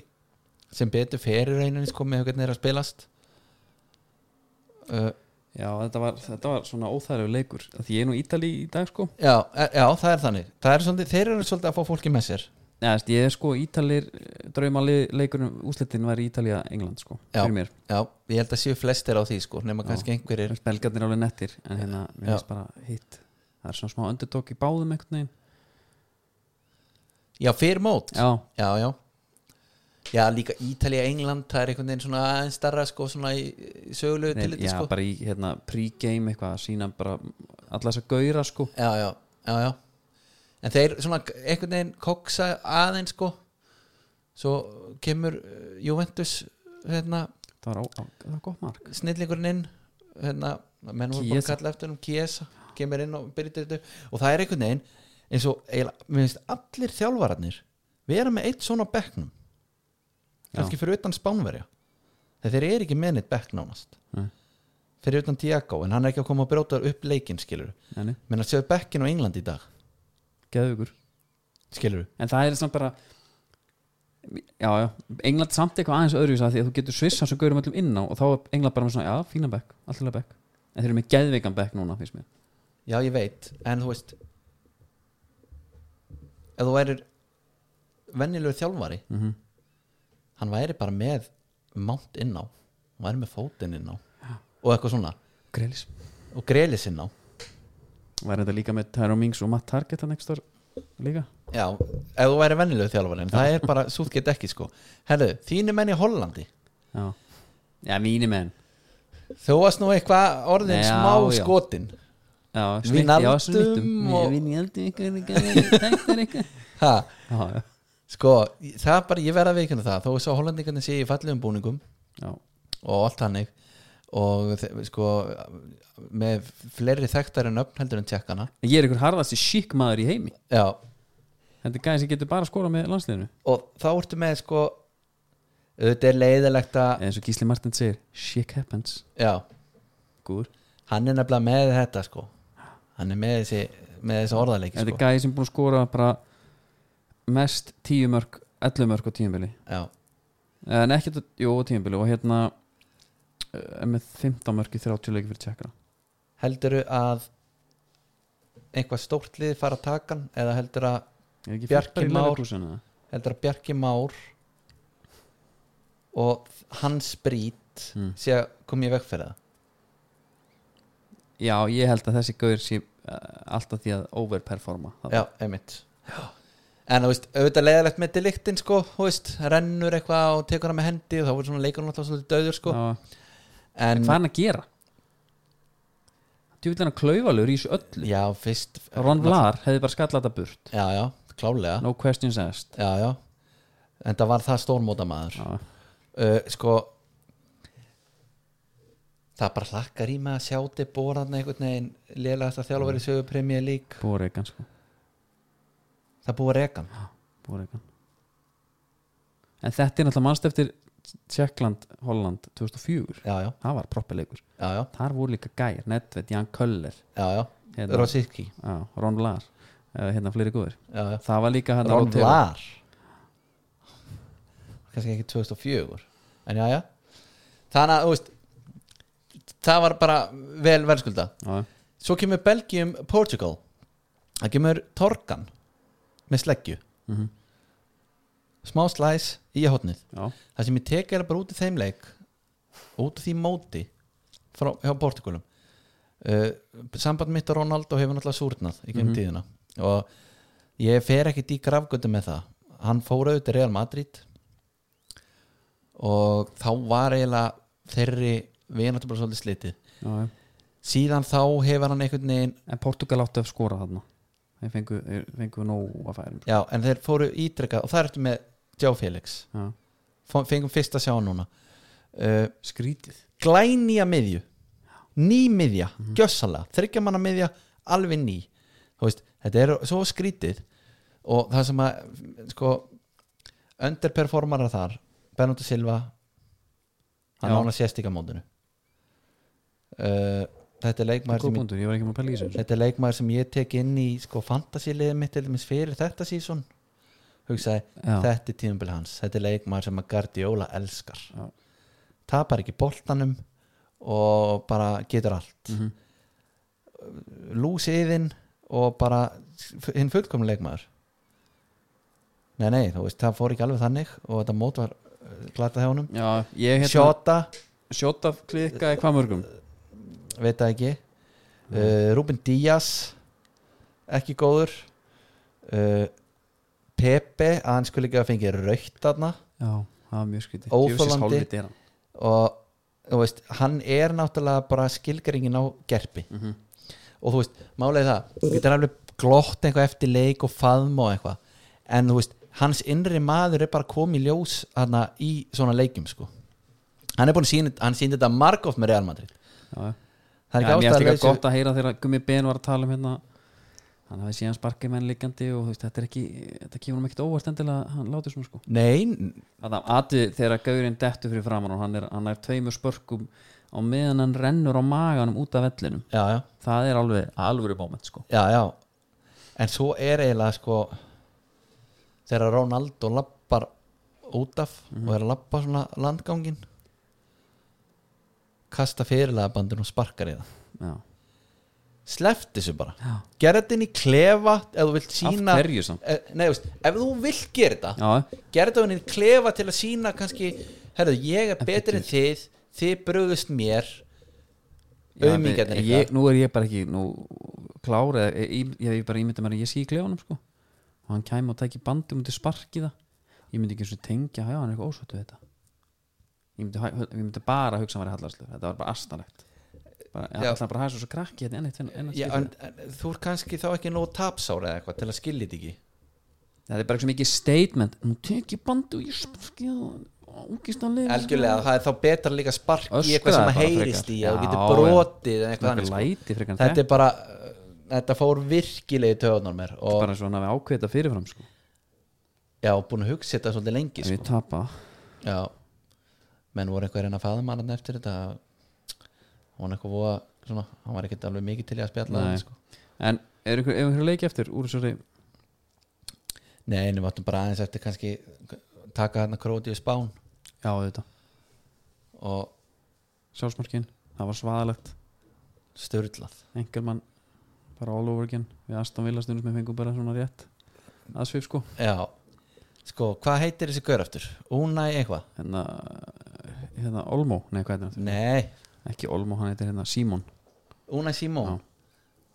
C: sem betur fyrir rauninni sko með hvernig er að spilast uh,
B: já, þetta var, þetta var svona óþægilegu leikur Af því ég er nú í Ítali í dag sko
C: já, e- já, það er þannig það er svolítið, þeir eru svolítið að fá fólki með sér
B: Já, veist, ég er sko Ítalir draumaleikurinn, úslitin var í Ítalía England sko,
C: Já.
B: fyrir mér
C: já, ég held að séu flestir á því sko nema
B: Já.
C: kannski einhverjir
B: Belgarnir alveg nettir, en hérna
C: Já.
B: mér finnst bara hitt það er svona smá underdog í báðum einhvern veginn
C: já, fyrir mót
B: Já,
C: Já, já Já, líka Ítalía, England, það er einhvern veginn svona aðeins starra sko, svona í, í sögulegu
B: Nei,
C: tilliti
B: já
C: sko.
B: bara í hérna, pre-game eitthvað að sína bara alla þess að gauðra sko
C: Já, já, já, já En þeir svona einhvern veginn koksa aðeins sko svo kemur eh, Juventus hérna,
B: það var, á, á, það var gott mark
C: snillingurinn inn hérna, menn voru búin að
B: Chiesa.
C: kalla eftir um Kiesa, kemur inn og byrja þetta og það er einhvern veginn eins og eiginlega, mér finnst allir þjálfararnir vera með eitt svona á bekknum kannski fyrir utan Spánverja þegar þeir eru ekki með neitt bekk nánast
B: Nei.
C: fyrir utan Tiago en hann er ekki að koma að brjóta upp leikinn skilur
B: Nei, nei.
C: menn að séu bekkin á England í dag
B: Geðveikur.
C: skilur
B: en það er samt bara já, já, England samt eitthvað aðeins öðru því að þú getur svissa svo gaurum öllum inn á og þá er England bara með svona, já, fínan bekk, alltaf bekk en þeir eru með geðveikan bekk núna, finnst mér
C: já ég veit en þú veist ef þú værir vennilegur þjálfari
B: mm -hmm.
C: hann væri bara með mánt inn á hann væri með fótinn inn á og eitthvað svona
B: Greilis
C: og grelis inn á
B: Var þetta líka með Tyrone Mings og Matt Target hann ekstra líka?
C: já, ef þú væri vennilegur þjálfari en það er bara, sútt get ekki sko herðu, þínu menn í Hollandi
B: Já, já mínir menn
C: þú varst nú eitthvað orðin
B: Já,
C: smá
B: já.
C: skotin
B: Já,
C: Wijnaldum
B: já, snittum
C: og-
B: Vinaldum ykkur ykkur Tæktar ykkur
C: ha,
B: Já, já,
C: sko, það er bara, ég verð að veikinu það þó þess að Hollandingarnir sé í fallegum búningum
B: já,
C: og allt hannig og þe- sko með fleiri þekktar en öfn heldur en tjekkana
B: Ég er ykkur harðasti sík maður í heimi
C: já,
B: Þetta er gæði sem getur bara að skora með landsliðinu
C: og þá ertu með sko auðvitað er leiðilegt að
B: eins og Gísli Martins segir shit happens,
C: já,
B: gúr
C: hann er nefnilega með þetta sko hann er með þessi, með þessi orðarleiki
B: þetta er
C: sko.
B: gæði sem búin að skora bara mest tíu mörg 11 mörg á tíumbili
C: já,
B: en ekki, jú, á tíumbili og hérna eh, með 15 mörg í 30 leiki fyrir tjekkara
C: heldurðu að einhvað stórt lið fara að taka hann eða heldur að,
B: er ekki
C: Bjarki
B: Fylkir í
C: Már.
B: Leverkusen eða?
C: heldur að Bjarki Már og hans brít
B: Mm.
C: sé að kom ég veg fyrir það
B: já, ég held að þessi gaur sé eh, alltaf því að overperforma Það-
C: já, einmitt en þú veist, auðvitað leiðilegt með deliktin sko, þú veist, rennur eitthvað og tekur hann með hendi og þá voru svona leikur náttúrulega svolítið döður sko
B: Já,
C: en,
B: hvað er hann að gera? þú vil hann að klauvalur í þessu öllu
C: já, fyrst
B: Ron Vlar hefði bara skallat það burt
C: já, já, klálega
B: no questions asked
C: já, já, en það var það stórmóta maður
B: já,
C: uh, sko það bara hlakkar í með að sjá þið bóraðna einhvern veginn lélegasta
B: Mm.
C: þjálfari í sögu premjör lík
B: búregan sko
C: það búið rekan
B: Búregan En þetta er náttúrulega mannst eftir Tjekkland, Holland 2004
C: já, já,
B: Það var proppilegur
C: já, já,
B: Þar voru líka gær, Nedved, Jan Köller
C: já, já.
B: hérna,
C: Rosicki,
B: á, Ron Lahr eh, hérna fleiri góður
C: já, já
B: Það var líka hérna hann
C: Ron Vlar kannski ekki 2004 en já, já þannig að, þú veist það var bara vel verðskulda
B: Já,
C: svo kemur Belgium Portugal það kemur Torkan með sleggju
B: Mhm.
C: smá slæs í hotnið
B: já,
C: það sem ég tek er bara út í þeim leik út í því móti frá, hjá Portugalum uh, samband mitt og Ronaldo hefur náttúrulega súrnað í kemur
B: Mhm.
C: tíðina og ég fer ekkit í grafgötu með það hann fór auðvitað Real Madrid og þá var eiginlega þeirri vináttu bara svolítið slitið
B: já, já.
C: síðan þá hefur hann einhvern veginn
B: En Portugal áttu að skora þarna Þeir fengu, þeir fengu nóg að færum
C: já, en þeir fóru ítrekka og það er eftir með Joe Felix
B: já.
C: Fá- fengum fyrst að sjá hann núna uh,
B: Skrítið
C: glænýja miðju ný miðja, gjössalega þryggja manna miðja, alveg ný þú veist, þetta er svo skrítið og það sem að sko, underperformarar þar Bernardo Silva hann
B: Já.
C: ána sést ekki á mótinu uh, þetta er leikmaður sem ég,
B: Góðbundur, ég var ekki með að pæla í þessu
C: þetta er leikmaður sem ég tek inn í sko fantasíliðið mitt til dæmis fyrir þetta sísón hugsaði,
B: Já,
C: þetta er tíðumbil hans þetta er leikmaður sem að Guardiola elskar
B: Já.
C: tapar ekki boltanum og bara getur allt
B: mhm.
C: lúsiðinn og bara f- hinn fullkomun leikmaður nei nei, þú veist, það fór ekki alveg þannig og þetta mót var glata hjá honum
B: já ég hérna
C: Shota,
B: Shot af klikkaði hvað mörgum
C: Uh, veit það ekki uh, Ruben Díaz ekki góður uh, Pepe að hann skulle ekki að fengi raukt þarna
B: Já, það var mjög skrítið
C: Óþolandi.
B: Djöfisins hálfviti er hann.
C: og þú veist, hann er náttúrulega bara skilgaringin á gerpi
B: Mhm.
C: og þú veist, málega það þú getur alveg glott eitthvað eftir leik og faðm og eitthvað, en þú veist hans innri maður er bara komið ljós hana, í svona leikum sko hann er búin að sína, hann sína þetta margóft með Real Madrid
B: Já, já Já,
C: það er ekki
B: mér finnst líka
C: ástæðlega
B: gott að heyra þegar Gummi Ben var að tala um hérna hann hafði síðan sparkið menn líkandi og þú veist, þetta er ekki, þetta kemur hann ekkert óvart endilega að hann láti svona sko
C: Nei, n-
B: að það atvið þegar gaurinn dettur fyrir framann og hann er, hann er tveimur spörkum á meðan hann rennur á maganum út af vellinum
C: já, já,
B: það er alveg alvöru moment sko
C: já, já En svo er eiginlega sko þegar Ronaldo lappar út af og er að lappa svona landgangin kasta fyrirlega bandin og sparkar í það
B: já,
C: Sleft þessu bara
B: já,
C: Gerð þetta inn í klefa ef þú vilt sína
B: af hverju samt
C: Nei, þú veist, ef þú vilt gera þetta
B: já,
C: gerði það henni klefa til að sína kannski, herðu, ég er betur en þið þið brugðust mér
B: já,
C: auðmingjarnir
B: ég- nú er ég bara ekki nú klára eða ég, ég, ég bara ímynda mér að ég sé í klefunum sko og hann kæmi og tæki bandi og myndi sparki það ég myndi ekki eins og tengja, já hann er eitthvað ósvættu við þetta ég myndi, hæ- ég myndi bara hugsa hann var í hallarslu þetta var bara astalegt bara, já,
C: Já.
B: það bara hæði svo svo krakki hérna þetta er enn eitt- enn eitt
C: já,
B: skipti.
C: en, en, þú er kannski þá ekki nóg tapsár eða eitthvað til að skilja þetta ekki
B: það er bara eitthvað mikið statement nú tek ég bandi og ég sparki það ógistanlega
C: algjörlega, það er þá betra líka spark í
B: Öskraði
C: eitthvað sem
B: bara
C: að heyrist
B: frekar.
C: í að
B: Já,
C: þú getur brotið eða eitthvað
B: það er
C: annars
B: læti frekar en
C: þetta
B: þetta
C: er bara, uh, þetta fór virkilegi töðunar mér og
B: bara svona við ákveða þetta fyrirfram sko.
C: já, búin að hugsa þetta svolítið lengi
B: ef
C: sko.
B: við tapa
C: já, menn voru eitthvað að reyna að faða mann eftir þetta hún eitthvað voða, svona, hann var ekkert alveg mikið til í að
B: Nei.
C: spjalla það, sko.
B: en er einhver, er einhver leiki eftir úr þessari
C: Nei, en við áttum bara aðeins eftir kannski taka hérna króti í spán
B: já þetta
C: og
B: sjálfsmarkin það var svaðalegt
C: störlað
B: Engelmann bara all over again við Aston Villa stundum sem fengum bara svona rétt aðsvif sko
C: Já, sko, hvað heitir þessi gaur aftur? Únæ eitthvað?
B: hérna, hérna Olmo nei hvað heitir hann
C: Nei,
B: aftur ekki Olmo hann heitir hérna Simon
C: Únæ Simón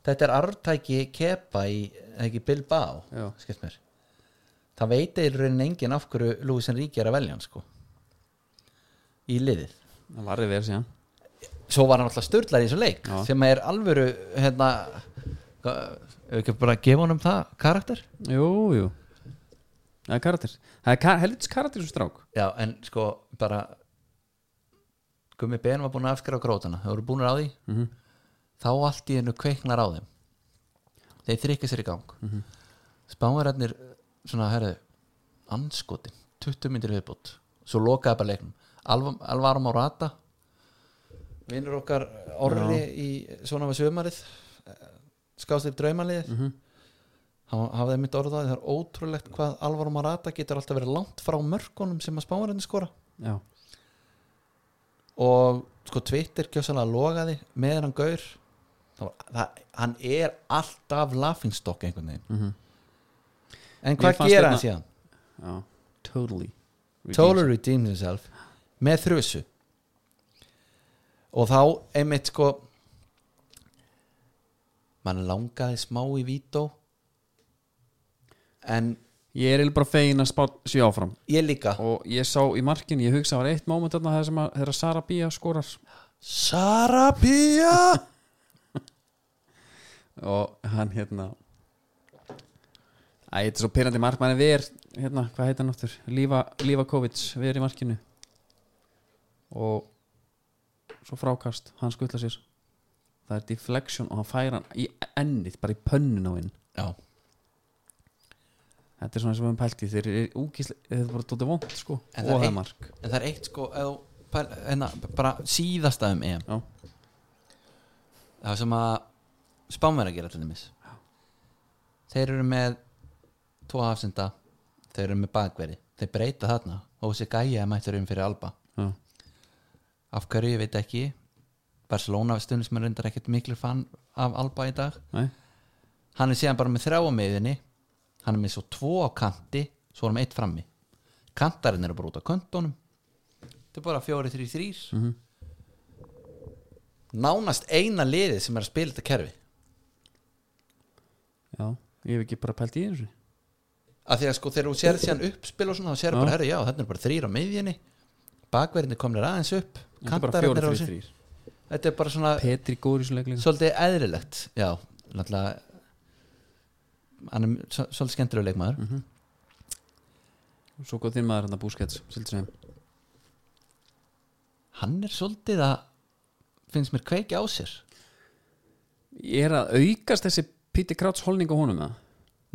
C: Þetta er arftæki kepa í eða ekki Bilbao,
B: Já.
C: skilst mér Það veit eða raunin engin af hverju Lúis Enríki er að velja hann, sko í liðið
B: það varði verið síðan
C: Svo var hann alltaf störlað í þessu leik
B: Já.
C: sem er alvöru, hérna hvað- ef ekki bara að gefa honum það karakter?
B: jú jú það er karakter það er kar helvits karakter svo strák
C: Já, en sko bara Gummi Ben var búin að afskrifa grótana þau voru búin á því
B: Mhm.
C: þá allt í hennu kveiknar á þeim þeir þrykja sér í gang mm -hmm. svona, herðu anskotin, 20 myndir viðbútt svo lokaði bara leiknum Alv Alvaro Morata vinnur okkar orri í svona við sömarið skáðslip draumalið mm -hmm. hann hafði mitt orðað það það er ótrúlegt hvað Alvaro Morata getur alltaf verið langt frá mörkunum sem að spámarinn skora
B: já
C: og sko Twitter kjósalega logaði meðan hann gaur það var, það, hann er alltaf laughingstock einhvern veginn
B: Mhm. Mér
C: en hvað
B: fannst
C: gera
B: hérna-
C: hann síðan?
B: Já, totally
C: Totally redeemed himself með þrjusu og þá einmitt sko mann langaði smá í vító en
B: Ég er eiginlega bara fegin að spátt sér áfram
C: ég líka
B: og ég sá í markin, ég hugsa var eitt moment þarna þegar sem að- þegar Sara Bía skorar
C: Sara Pía
B: og hann hérna Æ, þetta er svo pyrrandi mark maður er ver, hérna, hvað heit hann áttur Lífa, Lífa Kovic, ver í markinu og svo frákast, hann skutla sér það er deflection og hann fær hann í ennið, bara í pönnun á hinn
C: já,
B: þetta er svona eins og við höfum pælt í þeir eru úkislega, þetta er bara dótið vond sko,
C: En
B: og
C: það er
B: það
C: eitt-
B: er mark
C: en það er eitt sko ef þú pæl- hérna, bara síðasta um EM
B: Já.
C: það sem að spánverða gera til dæmis þeir eru með tvo hafsenda þeir eru með bakveri þeir breyta þarna og þessi gæja mættur um fyrir Alba
B: Já.
C: af hverju ég veit ekki Barcelona stundum sem er reyndar ekkert miklu fann af Alba í dag
B: Nei,
C: hann er síðan bara með þrjá á miðinni hann er með svo tvo á kanti svo er hann með eitt frammi kantarinn eru bara út á köntunum þetta er bara fjóri, þrý, þrýr nánast eina liðið sem er að spila þetta kerfi
B: já, ég hef ekki bara pælt í þessu
C: að því að sko þegar þú sér síðan uppspil og svona þá sér
B: Já.
C: bara, herri, já, þetta er bara þrýr á miðjunni bakverðinni komnir aðeins upp
B: Þetta er bara
C: kantarinn
B: fjóri,
C: eru á
B: þrjir,
C: sér
B: þrjir
C: þetta er bara svona,
B: Petri góður í svo leik líka
C: svolítið eðrilegt já, náttúrulega hann er svo- svolítið skemmtilega leikmaður
B: Svo góð þinn maður hérna, hann að búskets Sildur sem
C: hann er svolítið að finnst mér kveiki á sér
B: Ég er að aukast þessi Píti Kráts holning á honum eða?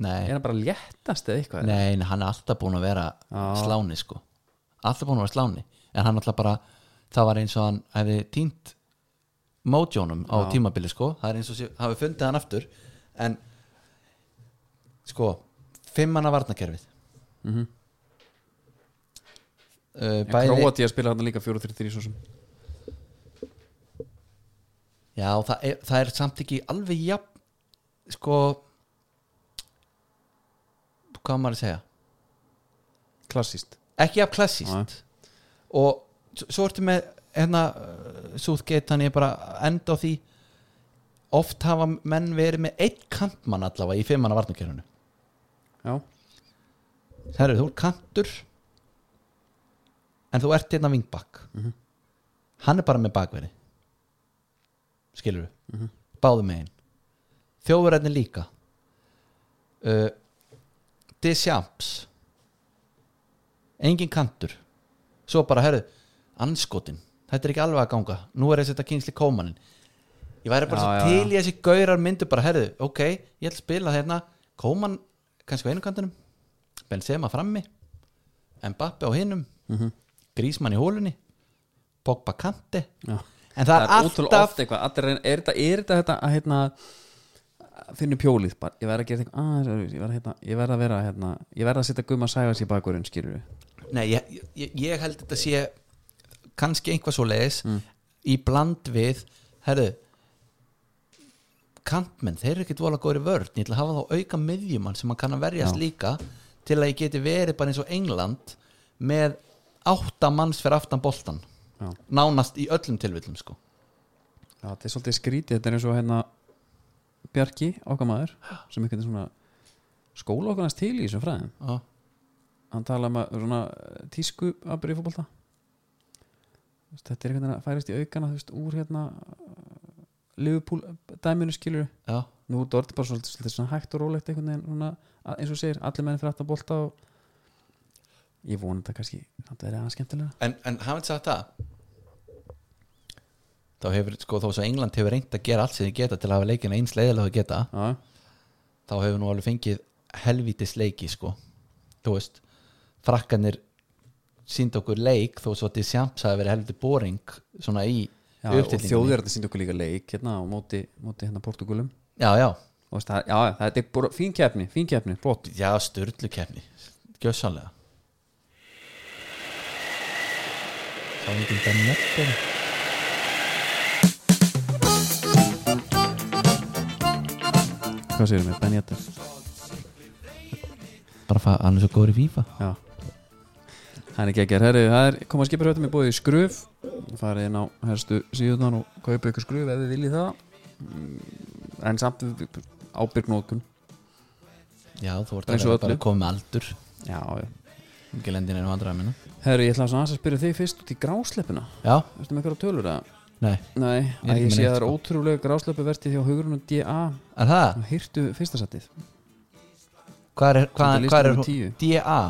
C: nei,
B: Er hann bara léttast eða eitthvað?
C: nei, nei, hann er alltaf búin að vera
B: Já.
C: sláni sko alltaf búin að vera sláni en hann alltaf bara, það var eins og hann hefði týnt mótjónum á
B: Já.
C: tímabili sko, það er eins og sé, hafi fundið hann aftur en sko, fimmana varnakerfið
B: Mm -hmm.
C: uh, bæði,
B: Króati að spila hann líka 4-3-3 svo sem
C: já, það er, það er samt ekki alveg jafn sko hvað á maður að segja
B: Klassist
C: ekki af klassíst og s- svo ertu með hérna Súðgeit hann er bara að enda á því oft hafa menn verið með eitt kantmann allavega í fimmana varnakerfinu
B: Já,
C: Herru, þú er kantur en þú ert hérna vingbakk
B: Mhm.
C: hann er bara með bakveri skilur við
B: Mhm.
C: báðum megin þjóðverðin líka uh, Disjamps engin kantur svo bara, herru, anskotin þetta er ekki alveg að ganga, nú er þessi þetta kynsli kómanin ég væri bara
B: Já,
C: svo
B: já,
C: til
B: já.
C: í þessi gaurar myndu bara, herru, ok ég ætla að spila hérna, kóman kannski á einu kantinum Benzema frammi Mbappi á hinum
B: Mhm.
C: Grísmann í hólunni Pogba kanti
B: já
C: en það, er
B: ótrúlega
C: alltaf
B: oft eitthvað allir reyna- Er þetta, er þetta, þetta að hérna að finna upp hjólið bara, ég verð að gera eitthvað aðeins öðruvísi, ég verð að, hérna, ég verð að vera hérna, ég verð að setja gumma sæfans í bakurinn skýrur við
C: Nei, ég, ég, ég held þetta sé kannski einhvað svo leiðis
B: Mm.
C: í bland við herðu kantmenn, þeir eru ekkert vola góri vörn ég ætla að hafa þá auka miðjumann sem hann kann að verjast
B: Já.
C: líka til að ég geti verið bara eins og England með átta manns fyrir aftan boltan
B: Já.
C: nánast í öllum tilvillum sko
B: Já, þetta er svolítið skrítið, þetta er eins og hérna Bjarki, okkar maður sem einhvern veginn svona skóla okkur hans til í þessum fræðum
C: Já.
B: hann tala um að svona eh, tísku að byrja fótbolta Þú veist, þetta er einhvern veginn að færist í aukana þú veist, úr hérna Liverpool eh, dæminu skilur
C: Já.
B: nú er þetta bara svolítið, svolítið svona hægt og rólegt einhvern veginn svona, að- eins og þú segir, allir menn fyrir aftan bolta og ég vona þetta kannski þetta er aðeins skemmtilega
C: En, en hafði sagt það þá hefur sko þó svo England hefur reynt að gera allt sem þið geta til að hafa leikina eins leiðilega að geta
B: já,
C: þá hefur nú alveg fengið helvítis leiki sko þú veist, frakkanir sínd okkur leik þó svo að þið sjamps hafi verið helviti boring svona í
B: já og
C: uppstillingunni.
B: þjóðir þetta okkur líka leik hérna á móti, móti hérna Portugulum
C: Já, já,
B: og veist, það, já, þetta er bara fín keppni fín keppni, flott
C: já, styrlu kefni gjössanlega Sá ekki þetta nefnir
B: hvað segir mér, Ben Jetter
C: bara fæ, hann er svo góður í FIFA
B: Já Hann er geggjær, herri, það er koma skipurhjóttum í bóði skröf farið inn á herstu síðunan og kaupa ykkur skröf ef þið viljið það Mm, en samt ábyrg nótkun
C: Já, þú ert
B: Eins og
C: að bara
B: öllu.
C: að koma með aldur
B: Já, já
C: ekki lendin einu andra að minna
B: Herri, ég ætla svona aðeins að spyrja þig fyrst út í grásleppina
C: hérna. Já,
B: Ertu með eitthvað tölur að?
C: nei,
B: Nei,
C: er
B: að
C: ekki
B: ég sé að
C: með neitt,
B: það er
C: sko.
B: ótrúlega grásleppuvertið hjá hugurunum DA
C: er það?
B: og hirtu fyrsta settið
C: Hvað er, hvað,
B: Svolítið
C: hvað er
B: listanum tíu.
C: DA?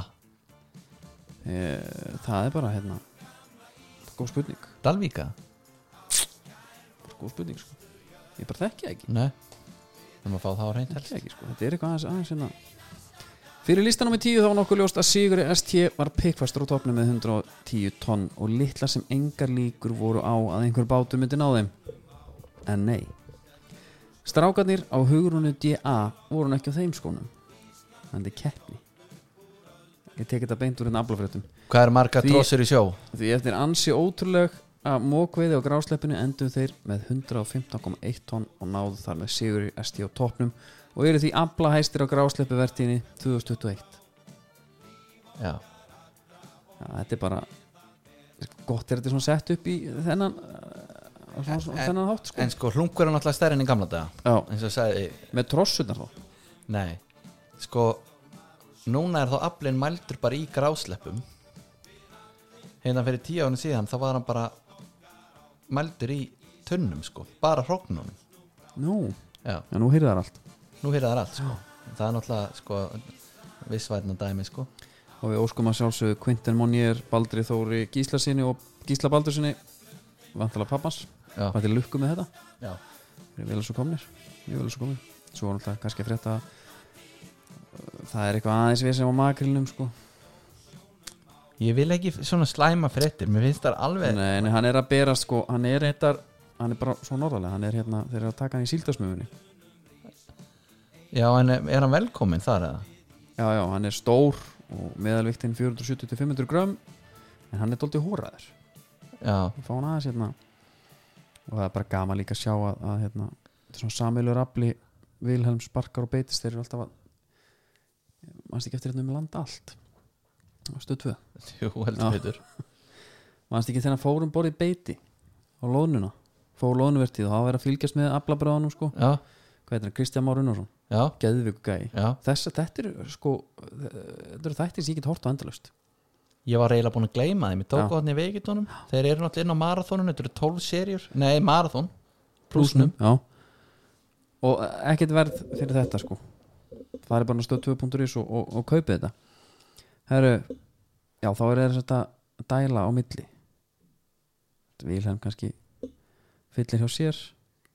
B: Eh, Það er bara, hérna Góð spurning,
C: Dalvíka?
B: góð spurning, sko Ég bara þekki það ekki
C: Nei Það maður fá það á reynd
B: Ekki,
C: helst
B: ekki, sko. Þetta er eitthvað aðeins, aðeins hérna. Fyrir listan nummer 10 þá var nokkuð ljóst að Sigur ST var pikkfastur á topnum með 110 tonn og litla sem engar líkur voru á að einhver bátur myndi ná þeim. En nei. Strákarnir á hugrunu DA voru nú ekki á þeim skónum. Þannig keppni. Ég tek þetta beint úr hérna aflafréttum.
C: Hvað er marga
B: Því-
C: trossur í sjó?
B: Því eftir ansi ótrúleg að mókveiði á grásleppinu endur þeir með 115,1 tonn og náðu þar með sigur ST á toppnum og eru því abla hæstir á grásleppuvertíðinni 2021
C: Já
B: Já, þetta er bara gott er þetta svona sett upp í þennan eh, á svona, svona,
C: En-
B: þennan hátt sko
C: En sko, hlungur er náttúrulega stærri enn í gamla daga
B: Já,
C: eins og sagði,
B: með trossunar þá
C: nei Sko, núna er þá aflinn mældur bara í grásleppum Hérna fyrir tíu ánum síðan þá var hann bara mældur í tunnum sko, bara hróknunum
B: Nú,
C: Já,
B: já nú heyrðu þar allt
C: nú heyrða það allt sko Það er náttúrulega sko vissvætna dæmi sko
B: og við óskum að sjálfsögðu Quinten Monier, Baldri Þóri Gíslasinni og Gísla Baldursinni vantala pappans,
C: Já,
B: hvað er lukku með þetta?
C: já
B: Við erum vel að svo komnir Mjög vel að svo komnir svo er alltaf kannski að frétta að það er eitthvað aðeins við sem á makrilnum sko.
C: Ég vil ekki svona slæma fréttir Mér finnst það alveg
B: Nei, nei, hann er að bera sko, hann er eittar hann er bara svo norðarlega, hann er hérna þeir eru að taka hann í síldarsmöfunni
C: Já, en er hann velkominn þar eða?
B: já, já, hann er stór og meðalviktin 470-500 grömm en hann er doldið hóraður
C: Já,
B: fá hann aðeins hérna og það er bara gaman líka að sjá að, að hérna, þetta er svona samilur afli Vilhelm Sparkar og Beitis þeir eru alltaf að mannst ekki eftir hérna um land allt á stöð 2
C: jú,
B: Já.
C: heldur veitur
B: mannst ekki þegar hann fór um borðið Beiti á lónuna, fór lónuvertið og það var að fylgjast með aflabröðanum sko
C: Já,
B: hvað heitir hann, Kristján Már Unnarsson,
C: já,
B: geðviku gæi
C: já
B: þess að þetta eru sko þetta eru þættir sem ég get hort á endalaust
C: Ég var eiginlega búin að gleyma þeim Ég
B: Já.
C: tók á hann í veikitunum Þeir eru náttúrulega inn á marathónunum Þetta eru 12 serjur Nei, marathón Plúsnum
B: já og ekkert verð fyrir þetta sko það er bara stöð 2.is og, og, og kaupið þetta herru já þá er þetta að dæla á milli þetta Vilhelm kannski fyllir hjá sér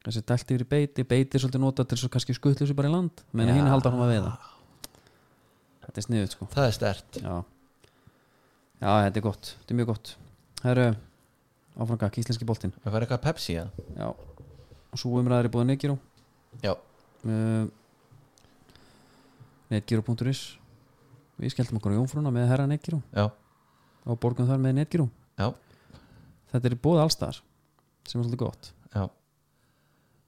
B: þessi dælt yfir í beiti, beiti er svolítið nota til svo kannski skuttlu sér bara í land meðan
C: Já.
B: hinn halda hann að veiða þetta er sniðut sko
C: Það er stert
B: Já Já, þetta er gott, þetta er mjög gott Herru, áfranga, íslenski boltinn
C: Við færum eitthvað Pepsi eða?
B: Já, og svo umræðar er búið Negiro
C: Já,
B: uh, Netgiro.is Við skelltum okkur á Jónfrúna með herra Netgiro
C: já,
B: og borgum þar með Netgiro
C: Já.
B: Þetta er búið allstar sem er svolítið gott
C: já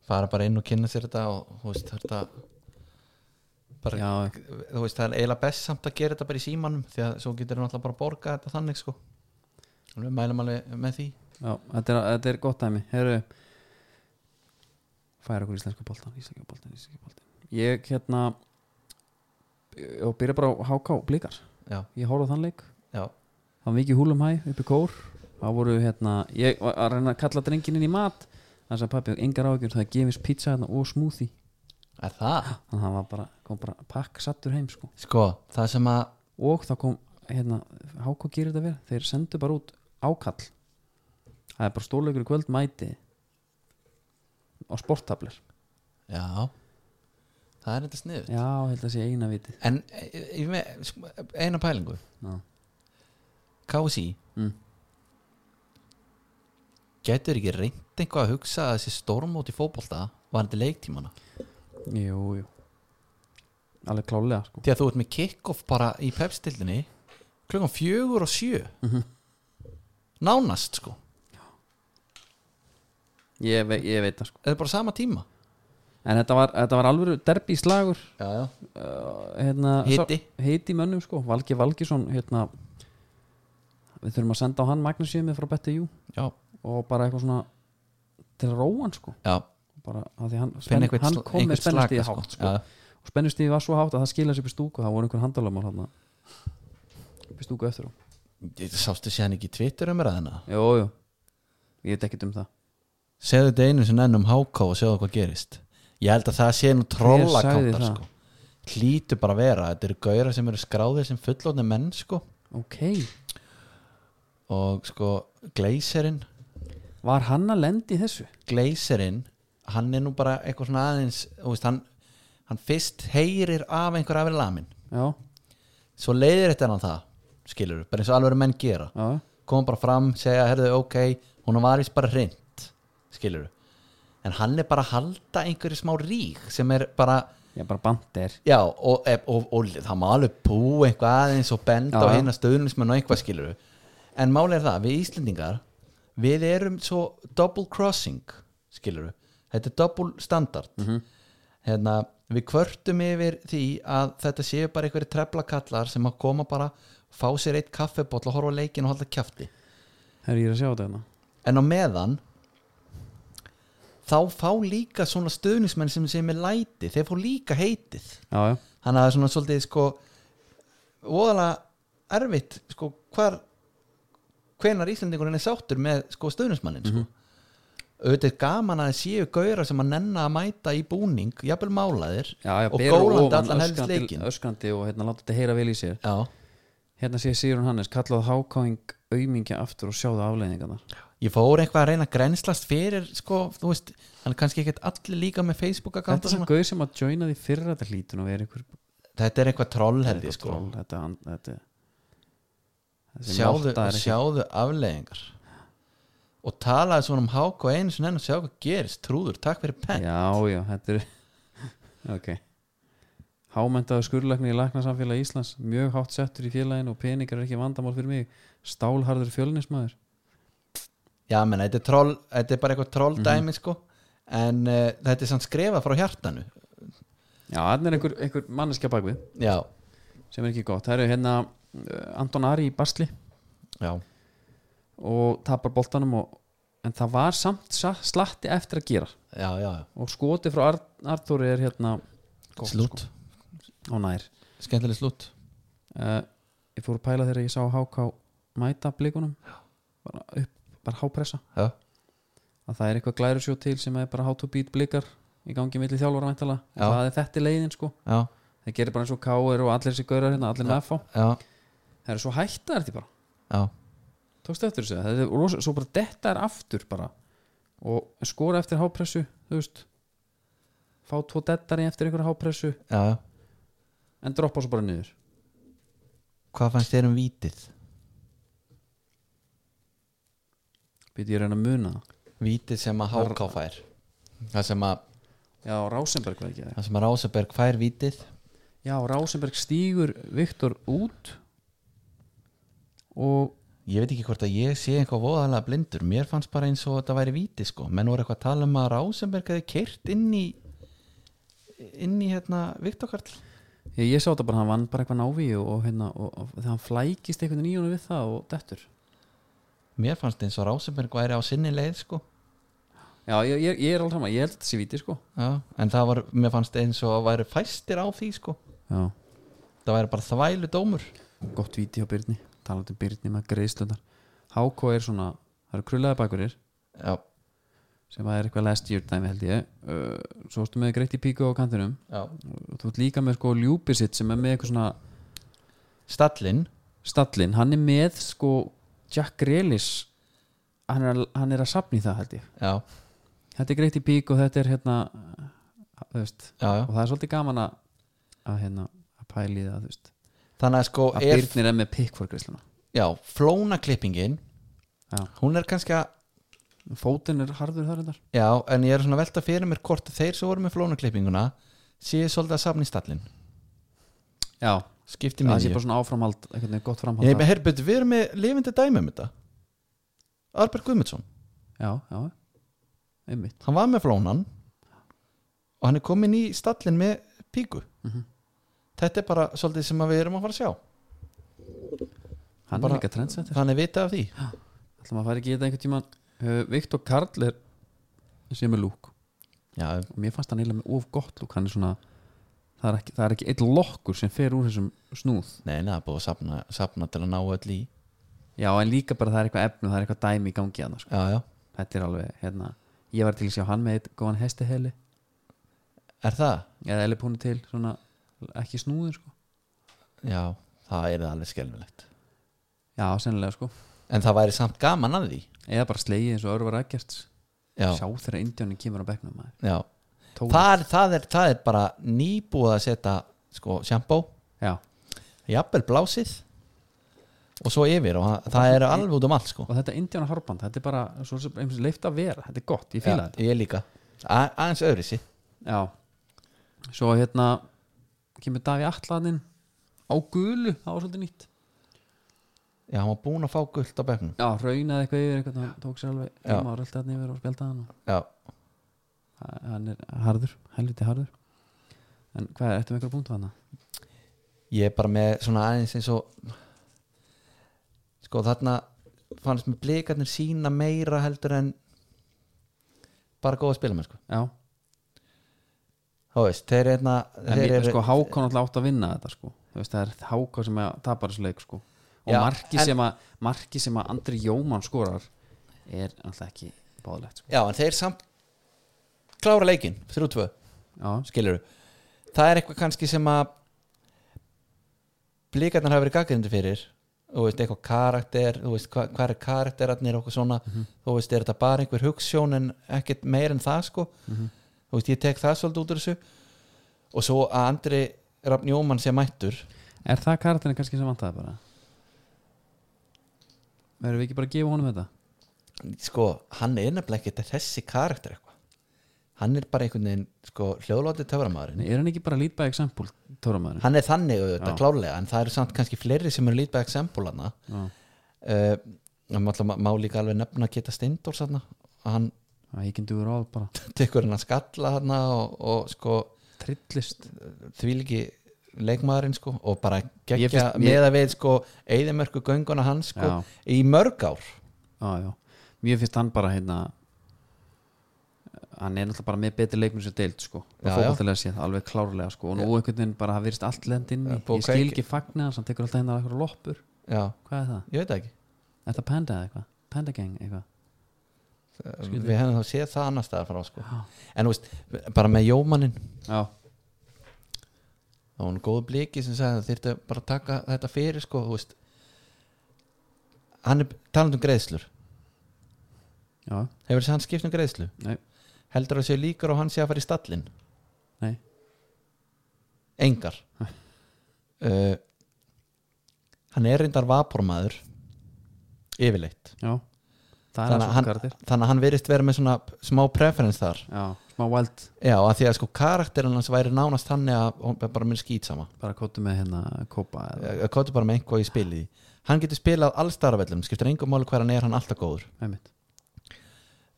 C: Fara bara inn og kynna sér þetta og þú veist, þetta bara,
B: Já,
C: þú veist, það er eiginlega best samt að gera þetta bara í símanum því að svo getur hann alltaf bara að borga þetta þannig sko Þannig við mælum alveg með því
B: já þetta, er, þetta er gott dæmi Herru Færa okkur íslenska boltan Íslenska boltan, íslenska boltan Ég hérna og byrja bara á HK blikar
C: já,
B: Ég horfði á þann leik
C: já,
B: það var mikið húlum hæ upp í kór það voru hérna, ég var að reyna að kalla drengin inn í mat þannig að pappi, engar ágjör það gefist pizza hérna og smoothie
C: er það
B: þannig að það var bara, kom bara pakk sattur heim sko.
C: sko, það sem að
B: og þá kom, hérna, hákó gerir þetta verið þeir sendu bara út ákall það er bara stórleikur í kvöld mæti á sporttablir
C: já, það er þetta sniður
B: já, ég held að sé eina vitið
C: en e- e- ég með sko, eina pælingu
B: já,
C: KSI
B: Mm.
C: getur ekki reynd eitthvað að hugsa að þessi stormót í fótbolta var þetta leiktímana
B: jú, jú alveg klálega sko.
C: því að þú ert með kickoff bara í pepstildinni klukkan fjögur og sjö
B: Mhm.
C: nánast sko
B: ég, ve ég veit það sko.
C: þetta er bara sama tíma
B: en þetta var, þetta var alveg derbi slagur
C: já, já.
B: uh, hérna,
C: Hiti.
B: sá- hiti í mönnum sko, Valgi Valgisson hérna, við þurfum að senda á hann Magnusjömið frá BTU
C: Já,
B: og bara eitthvað svona til að róa hann sko
C: já.
B: bara að því hann,
C: Finn
B: spenn,
C: eitthvað
B: hann kom með spennustíði hátt sko.
C: já,
B: og spennustíði var svo hátt að það skilaði sér upp í stúku það voru einhver handalamál hann upp í stúku eftir á
C: Ég- sástu séðan ekki Twitter um ræðina
B: jú, jú, ég veit ekkert um það
C: segðu þetta einu sem enn um háká og segðu hvað gerist ég held að það sé nú
B: sagði
C: trollakáttar
B: það?
C: sko. hlýtu bara að vera þetta eru gauðra sem eru skráðir sem fullotni menn sko.
B: ok,
C: og sko gleiserinn
B: var hann að lendi í þessu?
C: Gleiserinn hann er nú bara eitthvað svona aðeins þú veist, hann, hann fyrst heyrir af einhver afir lamin
B: já,
C: svo leiðir þetta hann það skilur, bara eins og alveg menn gera
B: já,
C: koma bara fram, segja, herðu, ok hún var vist bara hreint skilur, en hann er bara að halda einhverju smá rík sem er bara
B: ég bara bandir
C: já, og, og, og, og það má alveg pú eitthvað aðeins og benda
B: Já,
C: á
B: já.
C: hérna stöðunismenn og eitthvað skilur en máli er það, við Íslendingar við erum svo double crossing skilur þetta er double standard hérna, við kvörtum yfir því að þetta séu bara einhverju treflakallar sem að koma bara fá sér eitt kaffibóll og horfa á leikin og halda kjafti
B: herri, ég er að sjá þetta hérna
C: en á meðan þá fá líka svona stöðnismenn sem sem er læti, þeir fá líka heitið
B: já, já,
C: þannig að það er svona svolítið sko voðalega erfitt sko hvar hvenar Íslandingurinn er sáttur með sko stöðnismannin sko
B: Mhm.
C: auðvitað er gaman að það séu gauðra sem að nenna að mæta í búning, jafnvel málaðir
B: já, já, ber
C: og
B: að ofan,
C: gólandi allan helst
B: öskrandi-
C: leikin
B: öskrandi og hérna láta þetta heyra vel í sér
C: já.
B: Hérna sé Sýrun Hannes kallað hákáing aumingja aftur og sjáðu afleiðingarnar
C: ég fór eitthvað að reyna að grenslast fyrir sko, þú veist, hann er kannski ekkert allir líka með Facebook
B: Þetta
C: account
B: er svo gauð sem að joina því fyrra þetta hlýtun og vera einhver
C: þetta er eitthvað troll held
B: þetta
C: ég sko
B: troll, þetta, and- þetta, þessi
C: sjáðu,
B: molta er ekki-
C: sjáðu afleðingar og talaði svona um hák og einu sinni enn og sjá hvað gerist, trúður, takk fyrir penn
B: Já, já, þetta er ok Hámentaðu skurðlækni í læknasamfélagi Íslands mjög hátt settur í félaginu og peningar er ekki vandamál fyrir mig stálharður fjölnismæður
C: Já, menn, þetta er troll, þetta er bara eitthvað trolldæmi sko, en uh, þetta er samt skrifað frá hjartanu
B: Já, þannig er einhver, einhver manneskja bakvið
C: Já,
B: sem er ekki gott, það eru hérna eh, Anton Ari í basli
C: já,
B: og tapar boltanum og, en það var samt sa- slatti eftir að gera
C: já, já, já.
B: og skoti frá Ar Artúri er hérna gott, sko,
C: slútt,
B: á nær
C: sko. skemmtileg slútt
B: uh, ég fór að pæla þegar ég sá HK mæta blikunum bara upp, bara hápressa
C: Já.
B: að það er eitthvað glærusjó til sem er bara how to beat blikar í gangi milli þjálfara mæntala og
C: Já.
B: það er þetta í leiðin sko
C: Já,
B: það gerir bara eins og káir og allir þessi gaurar hérna allir með FH
C: já,
B: það eru svo hætta þetta bara
C: já,
B: tókstu eftir þessu það er rosa, svo bara detta er aftur bara og skora eftir hápressu þú veist fá tvo dettari eftir einhverja hápressu
C: já, já
B: en droppa svo bara niður
C: Hvað fannst þér um vítið?
B: býti ég að reyna að muna það
C: Vítið sem að háká fær Það sem að,
B: já, Rásenberg var ekki það
C: það sem að Rásaberg fær vítið
B: Já, Rásenberg stígur Viktor út og
C: Ég veit ekki hvort að ég sé eitthvað voðalega blindur Mér fannst bara eins og þetta væri víti sko Menn voru eitthvað að tala um að Rásenberg hefði keirt inn í inn í hérna Viktor Karl
B: ég, ég sá þetta bara, hann vann bara eitthvað návi og, og, hérna, og, og þegar hann flækist einhvern veginn í honum við það og dettur
C: Mér fannst eins og Rásenberg væri á sinni leið sko
B: Já, ég, ég, ég er alveg saman, ég held að þetta sé viti sko
C: Já, en það var, mér fannst eins og að væri fæstir á því sko
B: Já,
C: Það væri bara þvælu dómur
B: gott viti hjá Byrni talandi um Byrni með greiðslundar Háko er svona, það eru krullaði bakurir
C: Já,
B: sem er eitthvað last year dæmi held ég uh, svo ertu með greitt í píku á kantinum
C: já
B: og þú ert líka með sko ljúpisitt sem er með eitthvað svona
C: Stallinn,
B: stallin, hann er með sko Jack Grealish hann er, að- hann er að safna í það held ég
C: já,
B: þetta er greitt í pík og þetta er hérna þú veist,
C: já, já
B: og það er svolítið gaman að að hérna, að pæli það þú veist
C: Þannig að sko,
B: að
C: er,
B: Byrnir er með pík fyrir greisluna
C: já, flónaklippingin
B: Já.
C: Hún er kannski að,
B: fótinn er harður þar hendar
C: já, en ég er svona að velta fyrir mér hvort að þeir sem voru með flónaklippinguna séu svolítið að safna í stallinn
B: já,
C: Skipti
B: það sé
C: miðju
B: bara svona áframhald einhvern veginn gott framhald
C: Ég
B: þar.
C: með herrbytt, við erum með lifindi dæmi um þetta Arberg Guðmundsson
B: já, já, einmitt
C: Hann var með flónan og hann er komin í stallinn með píku
B: Mhm.
C: Þetta er bara svolítið sem að við erum að fara að sjá
B: hann
C: Bara-
B: er líka trendsetter
C: Þannig vitað af því
B: ætlum að fara ekki í þetta einhvern tíman uh, Viktor Karl er sem er lúk
C: Já,
B: og mér fannst hann eiginlega með of gott lúk hann er svona það er ekki, það er ekki eitt lokkur sem fer úr þessum snúð
C: nei, neða, búið að sapna, sapna til að ná öll í
B: já en líka bara það er eitthvað efnu það er eitthvað dæmi í gangi annars sko.
C: Já, já,
B: þetta er alveg hérna ég var til að sjá hann með eitt góðan hestiheli
C: er það?
B: eða heli púnu til svona ekki snúður sko
C: Já, það er það alveg skelfilegt
B: já sennilega sko
C: En það væri samt gaman að því
B: eða bara slegið eins og örvar ekkert
C: Já,
B: sjá þegar indjónin kemur á bekknum maður
C: já
B: Tóra.
C: það er, það, er, það er bara nýbúið að setja sko, sjampó,
B: já
C: jafnvel blásið og svo yfir og það, það er alveg út um allt sko
B: og þetta indjónar harband þetta er bara svo sem eins og leift að vera þetta er gott ég
C: já,
B: fíla þetta
C: Ég líka, A aðeins öðrisi
B: Já Svo hérna kemur Daví Atlanin á gulu, það var svolítið nýtt
C: Já, hann var búin að fá gult á bekknum
B: Já, raunaði eitthvað yfir eitthvað, hann tók sér alveg
C: Já.
B: um að rölda hann yfir og spjálta hann og
C: Já,
B: Ha- hann er harður, helviti harður En hvað er, ertu með einhver punkt á hana?
C: ég er bara með svona aðeins eins og sko þarna fannst mér blikarnir sína meira heldur en bara góða spila með sko
B: Já,
C: þá veist, þeir eru hérna,
B: en
C: þeir
B: við,
C: eru
B: sko Hákon alltaf átt að vinna þetta sko Þú veist, það er Hákon sem að tapar þessu leik sko Og
C: Já,
B: marki,
C: en-
B: sem að, marki sem að Andri Jóman skorar er alltaf ekki báðlegt sko
C: já, en þeir samt klára leikin, 3-2,
B: Já,
C: skilur það er eitthvað kannski sem að blikarnir hafa verið gaggrindu fyrir þú veist, eitthvað karakter þú veist, hva, hvað er karakterarnir og eitthvað svona
B: Mhm.
C: þú veist, er þetta bara einhver hugsjón en ekkert meir en það sko
B: Mhm.
C: þú veist, ég tek það svolítið út úr þessu og svo að Andri Rafn Jómann sé mættur
B: Er það karakterin kannski sem vantaði bara? Verðum við ekki bara að gefa honum þetta?
C: sko, hann er nefnilega ekkert þessi karakter eitthvað hann er bara einhvern veginn, sko, hljóðlóti töframæðurinn
B: Nei, er hann ekki bara lead by example, Tóramæður?
C: hann er þannig auðvitað
B: Já.
C: klálega en það eru samt kannski fleiri sem eru lít by example hana
B: Já,
C: uh, má, má líka alveg nefna Keta Steindors hana að hann
B: ég kynnt úr all bara
C: tekur hann að skalla hana og, og sko,
B: Trillist
C: þvílíki leikmaðurinn sko og bara
B: Ég
C: gegja
B: finnst-
C: með að við sko eigðimörku gönguna hans sko
B: Já.
C: í mörg ár
B: Já, já Mér finnst hann bara hérna Hann er náttúrulega bara með betri leikmenn sem deild sko
C: Já, já.
B: Fókvöldilega séð, alveg klárlega sko Og nú einhvern veginn bara hafa virist allt lend inn í
C: Já,
B: Ég
C: búið að
B: skil
C: kveikja-
B: ekki fagna hans, hann tekur alltaf hérna eitthvað loppur
C: já,
B: Hvað er það?
C: ég veit það ekki
B: Er það panda eða eitthvað? Panda gang eitthvað? Skrítið.
C: við hefum þá séð það annar staðar frá sko
B: Eh, Já.
C: en þú veist, bara með jómaninn
B: Já,
C: þá var hún góð bliki sem sagði það þyrfti bara að taka þetta fyrir sko þú veist hann er talandi um greiðslur
B: já,
C: hefur þessi hann skipt um greiðslu
B: nei,
C: heldur það séu líkur og hann sé að fara í stallin
B: nei
C: engar uh, hann er reyndar vapormaður yfirleitt
B: Já, það er að
C: þannig að,
B: svo
C: hann,
B: karakter
C: þannig að hann virðist vera með svona smá preference þar
B: Já, smá wild
C: já, að því að sko karakterinn hans væri nánast þannig að hún er bara mér skýt sama
B: Bara kóttu með hérna kópa eða,
C: að kóta bara með einhvað í spilið í hann getur spilað allstarfellum, skiptir engum máli hver hann er hann er alltaf góður
B: einmitt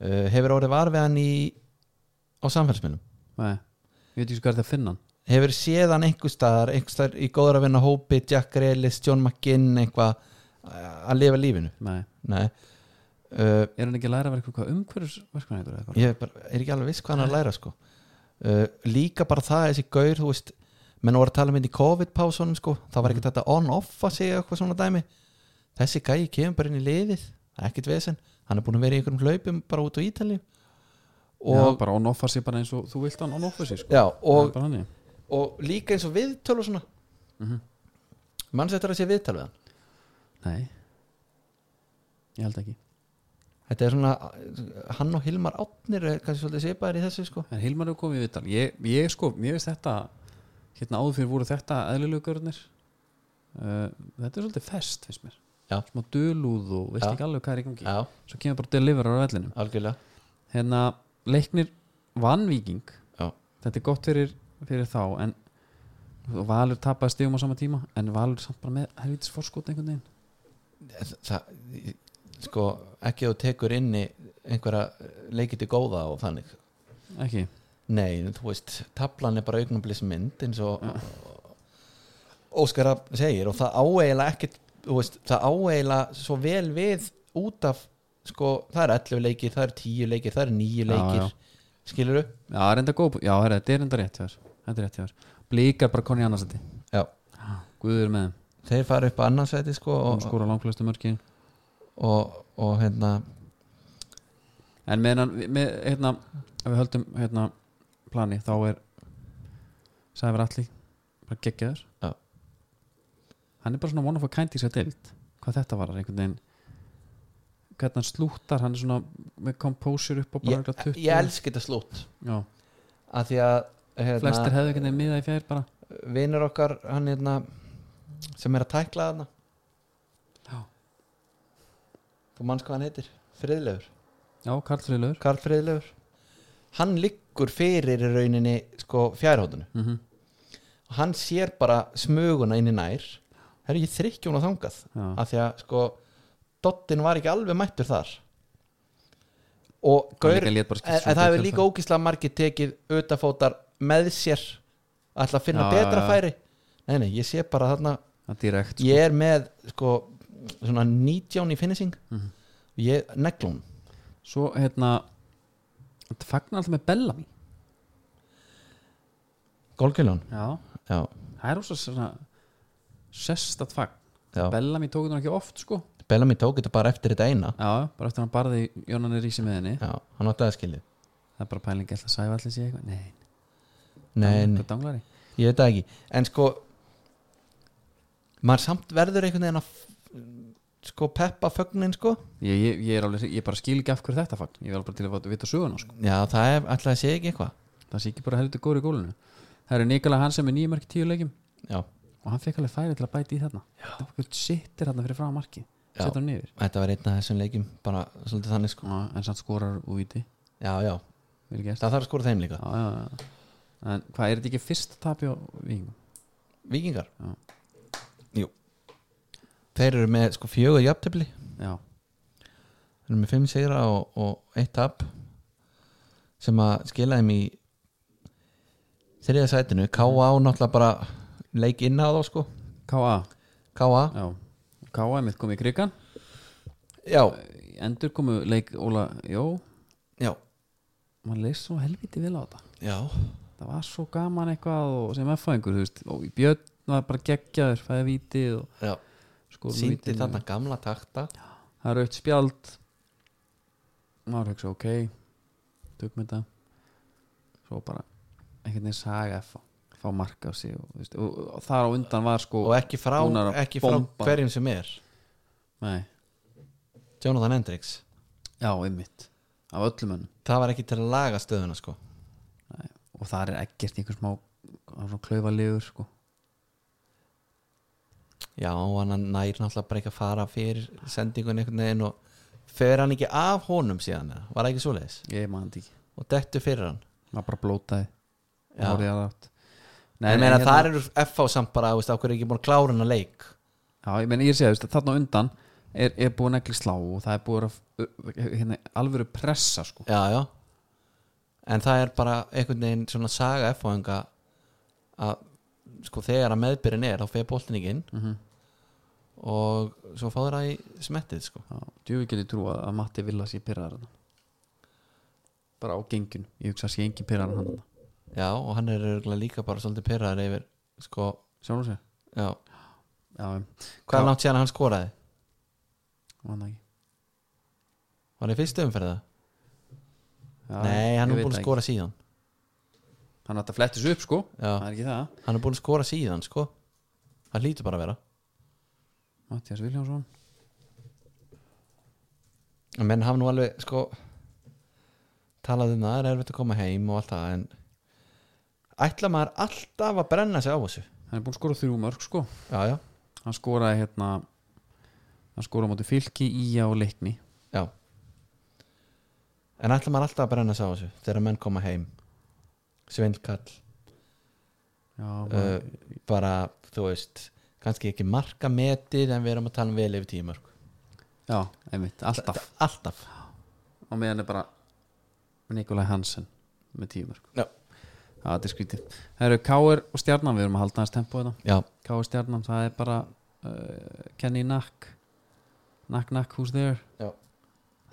C: uh, hefur orðið var við hann í á samfélsmiðlum
B: Nei, ég veit ekki hvað er það að finna hann
C: hefur séð hann einhver staðar, einhver staðar í góður að vinna hópi, Jack Relis, John McGinn eitthvað uh, að lifa lífinu
B: Nei,
C: nei uh,
B: er hann ekki að læra að vera eitthvað umhverfisverkvæðan eitthvað eitthvað?
C: ég er, bara, er ekki alveg viss hvað hann er að læra sko. uh, líka bara það þessi gaur, þú veist menn voru að tala með í COVID-pásunum sko. það var
B: Mm.
C: ekkert þetta on-off að segja eitthvað svona dæmi þessi gæi kemur bara inn í liðið það er ekkert vesen, hann er búin að vera í einhverjum hlaupum bara út á Ítali
B: Já,
C: og,
B: bara on-offa sig bara eins og þú vilt hann on-offa sig sko.
C: já,
B: Það
C: og,
B: er bara Mhm. þannig.
C: og líka eins og viðtöl og svona manns eftir að sé viðtöl við hann
B: Nei Ég held ekki
C: þetta er svona, hann og Hilmar Átnir er kannski svolítið svipaðir í þessu sko.
B: En Hilmar er komið í viðtal ég, ég sko, mér veist þetta Hérna áður fyrir voru þetta eðlilegu görnir uh, Þetta er svolítið fest, finnst mér
C: Já.
B: Smá dölúð og veist
C: Já.
B: ekki alveg hvað er í gangi
C: já,
B: Svo kemur bara deliverar á vellinum
C: algjörlega
B: Hérna, leiknir vannvíking
C: já,
B: Þetta er gott fyrir, fyrir þá En og Valur tapaði stigum á sama tíma En Valur er samt bara með helvitis fórskot einhvern veginn
C: Eh, það, sko, ekki að þú tekur inni einhverja leikið til góða og þannig
B: Ekki,
C: nei, þú veist, tablan er bara augnablis mynd eins og Óskar Rafn segir og það áeiginlega ekkit, þú veist, það áeiginlega svo vel við út af sko, það er 11 leikir, það er 10 leikir það er 9
B: Já,
C: leikir,
B: já.
C: skilurðu?
B: já, það er enda góð Já, herra, þetta er enda rétt hjá þér. Þetta er rétt hjá þér Blíkar bara konni annarsætti
C: Já,
B: Guður með þeim,
C: þeir fara upp að annarsæti sko
B: hún
C: og,
B: skóra langflestu mörkin
C: og, og hérna
B: En meðan, með, hérna Ef við höldum, hérna, plani Þá er Sæfur Atli, bara geggjaður
C: Já.
B: Hann er bara svona one of a kind í sér deild Hvað þetta var, einhvern veginn hvernig hann slúttar, hann er svona með composure upp á bara
C: ég,
B: örugglega 20.
C: ég elski þetta slútt
B: Já,
C: að því að
B: flestir
C: hérna,
B: hefðu ekki nefn miða í fjær bara
C: vinnur okkar hann hérna sem er að tækla þarna
B: Já.
C: þú manns hvað hann heitir Friðleifur,
B: Já, Karl Friðlöður
C: Karl Friðleifur hann liggur fyrir í rauninni sko fjærhóttinu
B: mm -hmm.
C: og hann sér bara smuguna inn í nær það er ekki þrykkjón og þangað
B: Já,
C: af því að sko Dottin var ekki alveg mættur þar og gaur
B: líka lét bara
C: en,
B: skýrt
C: Eh, en það hefur
B: til
C: líka ógíslega margir tekið utafótar með sér ætla að finna
B: Já,
C: betra
B: já, já.
C: færi nei, nei, ég sé bara þarna
B: það direkt sko.
C: ég er með sko, svona nítján í finishing
B: Mhm.
C: ég neglum
B: Svo hérna Þetta fagnar alltaf með Bellamy
C: gólkjöljón
B: Já,
C: já,
B: það er rosa svona sestat fagn
C: já.
B: Bellamy tók þetta nú ekki oft sko
C: Bellamy tók þetta bara eftir þetta eina
B: Já, bara eftir að hann barði Jónanir Rísi með henni
C: já, hann átti að skilja
B: Það er bara pæling ætla að sæfa allir sér eitthvað Nei,
C: nei,
B: hann er
C: nei,
B: bara danglari
C: ég veit það ekki en sko maður samt verður einhvern veginn að sko peppa fögnin sko
B: ég, ég, ég er alveg, ég bara skil ekki af hverju þetta fagn ég er alveg bara til að fá- vita söguna sko.
C: já það er alltaf að segja ekki eitthvað
B: það sé ekki bara heldur góri í gólinu það eru Nikola Hansen með nýjum marki tíu leikim
C: já,
B: og hann fekk alveg færi til að bæta í þarna þetta er bara sittir þarna fyrir frá marki
C: Já.
B: setja hann yfir
C: þetta var einn af þessum leikjum bara svolítið þannig sko
B: Já, en samt skorar úr viti
C: já, já,
B: vil gert
C: það þarf að skora þeim líka
B: já, já, já. en hvað er þetta ekki fyrst tapi á vingum
C: vikingar
B: Já.
C: jú þeir eru með sko fjögur jafntefli
B: já,
C: þeir eru með fimm sigra og, og eitt tap sem að skila þeim í þriða sætinu K.A. náttúrulega bara leik inn á þá sko
B: K.A.
C: K.A.
B: já, K.A. mitt kom í krigan
C: já,
B: endur komu leik Óla, jó,
C: já,
B: mann leist svo helviti vel á þetta
C: já
B: það var svo gaman eitthvað og sem F-fæðingur, þú veist, og Björn var bara geggjaður, fæði vítið og sko,
C: já
B: skorum
C: síndi þarna gamla takta
B: það er aukt spjald maður hugsa, ok tökum þetta svo bara einhvern veginn saga F fá marka á sig og, þú veist, og, og þar á undan var sko
C: og e- ekki frá,
B: Búnar að
C: ekki frá
B: bomba.
C: hverjum sem er
B: nei,
C: Jonathan Hendricks
B: já, einmitt af öllum önn
C: það var ekki til að laga stöðuna sko
B: og það er ekkert einhver smá hann er svona klaufalegur sko
C: já, hann nær náttúrulega bara ekki að fara fyrir sendingun einhvern veginn og fer hann ekki af honum síðan eða? var það ekki svoleiðis
B: ég man þetta ekki,
C: og dettu fyrir hann
B: maður bara blótaði og
C: Já.
B: horfði í aðra átt. Nei,
C: Nei, ég
B: nei,
C: meina
B: hérna-
C: þar eru FH samt bara ást, á hverju er ekki búin að klára hennar leik
B: Já, ég meina ég sé að þarna á undan er, er búin negli slá og það er búin að ö- hérna, alvöru pressa sko
C: já, já en það er bara einhvern veginn svona saga FH enga að sko þegar að meðbyrðin er þá fer boltin ekki inn
B: mm -hmm.
C: og svo fáður það í smettið sko
B: Djúfi getur trú að, að Matti vil að sé pyrraðar þarna. bara á gengjun ég hugsa að sé engin pyrraðar hann þarna.
C: já og hann er örugglega líka bara svolítið pyrraður yfir sko
B: Sjónu sér?
C: já
B: Já, ég
C: hvað
B: Já.
C: er langt síðan að hann skoraði
B: man það ekki
C: var hann í fyrstu umferða
B: Já,
C: nei
B: ég
C: hann
B: veit
C: er búin
B: það
C: að skora síðan
B: ekki. Hann ætti að flettis upp sko Það
C: já
B: er ekki það
C: hann er búin að skora síðan sko hann lítur bara að vera
B: Mattias Viljánsson
C: En menn hafa nú alveg sko talað um það, það er erfitt að koma heim og allt það en ætla maður alltaf að brenna sig á þessu
B: Hann er búin að skora þrjú mörg sko
C: já, já,
B: Hann skoraði hérna Hann skoraði á móti fylki í á leikni
C: já en ætla maður alltaf að brenna sig á þessu þegar menn koma heim svindkall,
B: Já,
C: uh,
B: maður-
C: bara þú veist, kannski ekki marka metið en við erum að tala um vel yfir tímar
B: já einmitt, alltaf
C: alltaf,
B: og meðan er bara Nikolai Hansen með tímur
C: Já.
B: það er skrítið það eru Káir og Stjarnan, við erum að halda hans tempo hérna. þetta
C: já,
B: Káir Stjarnan, það er bara uh, Kenny Knack Knack Knack, who's there
C: Já.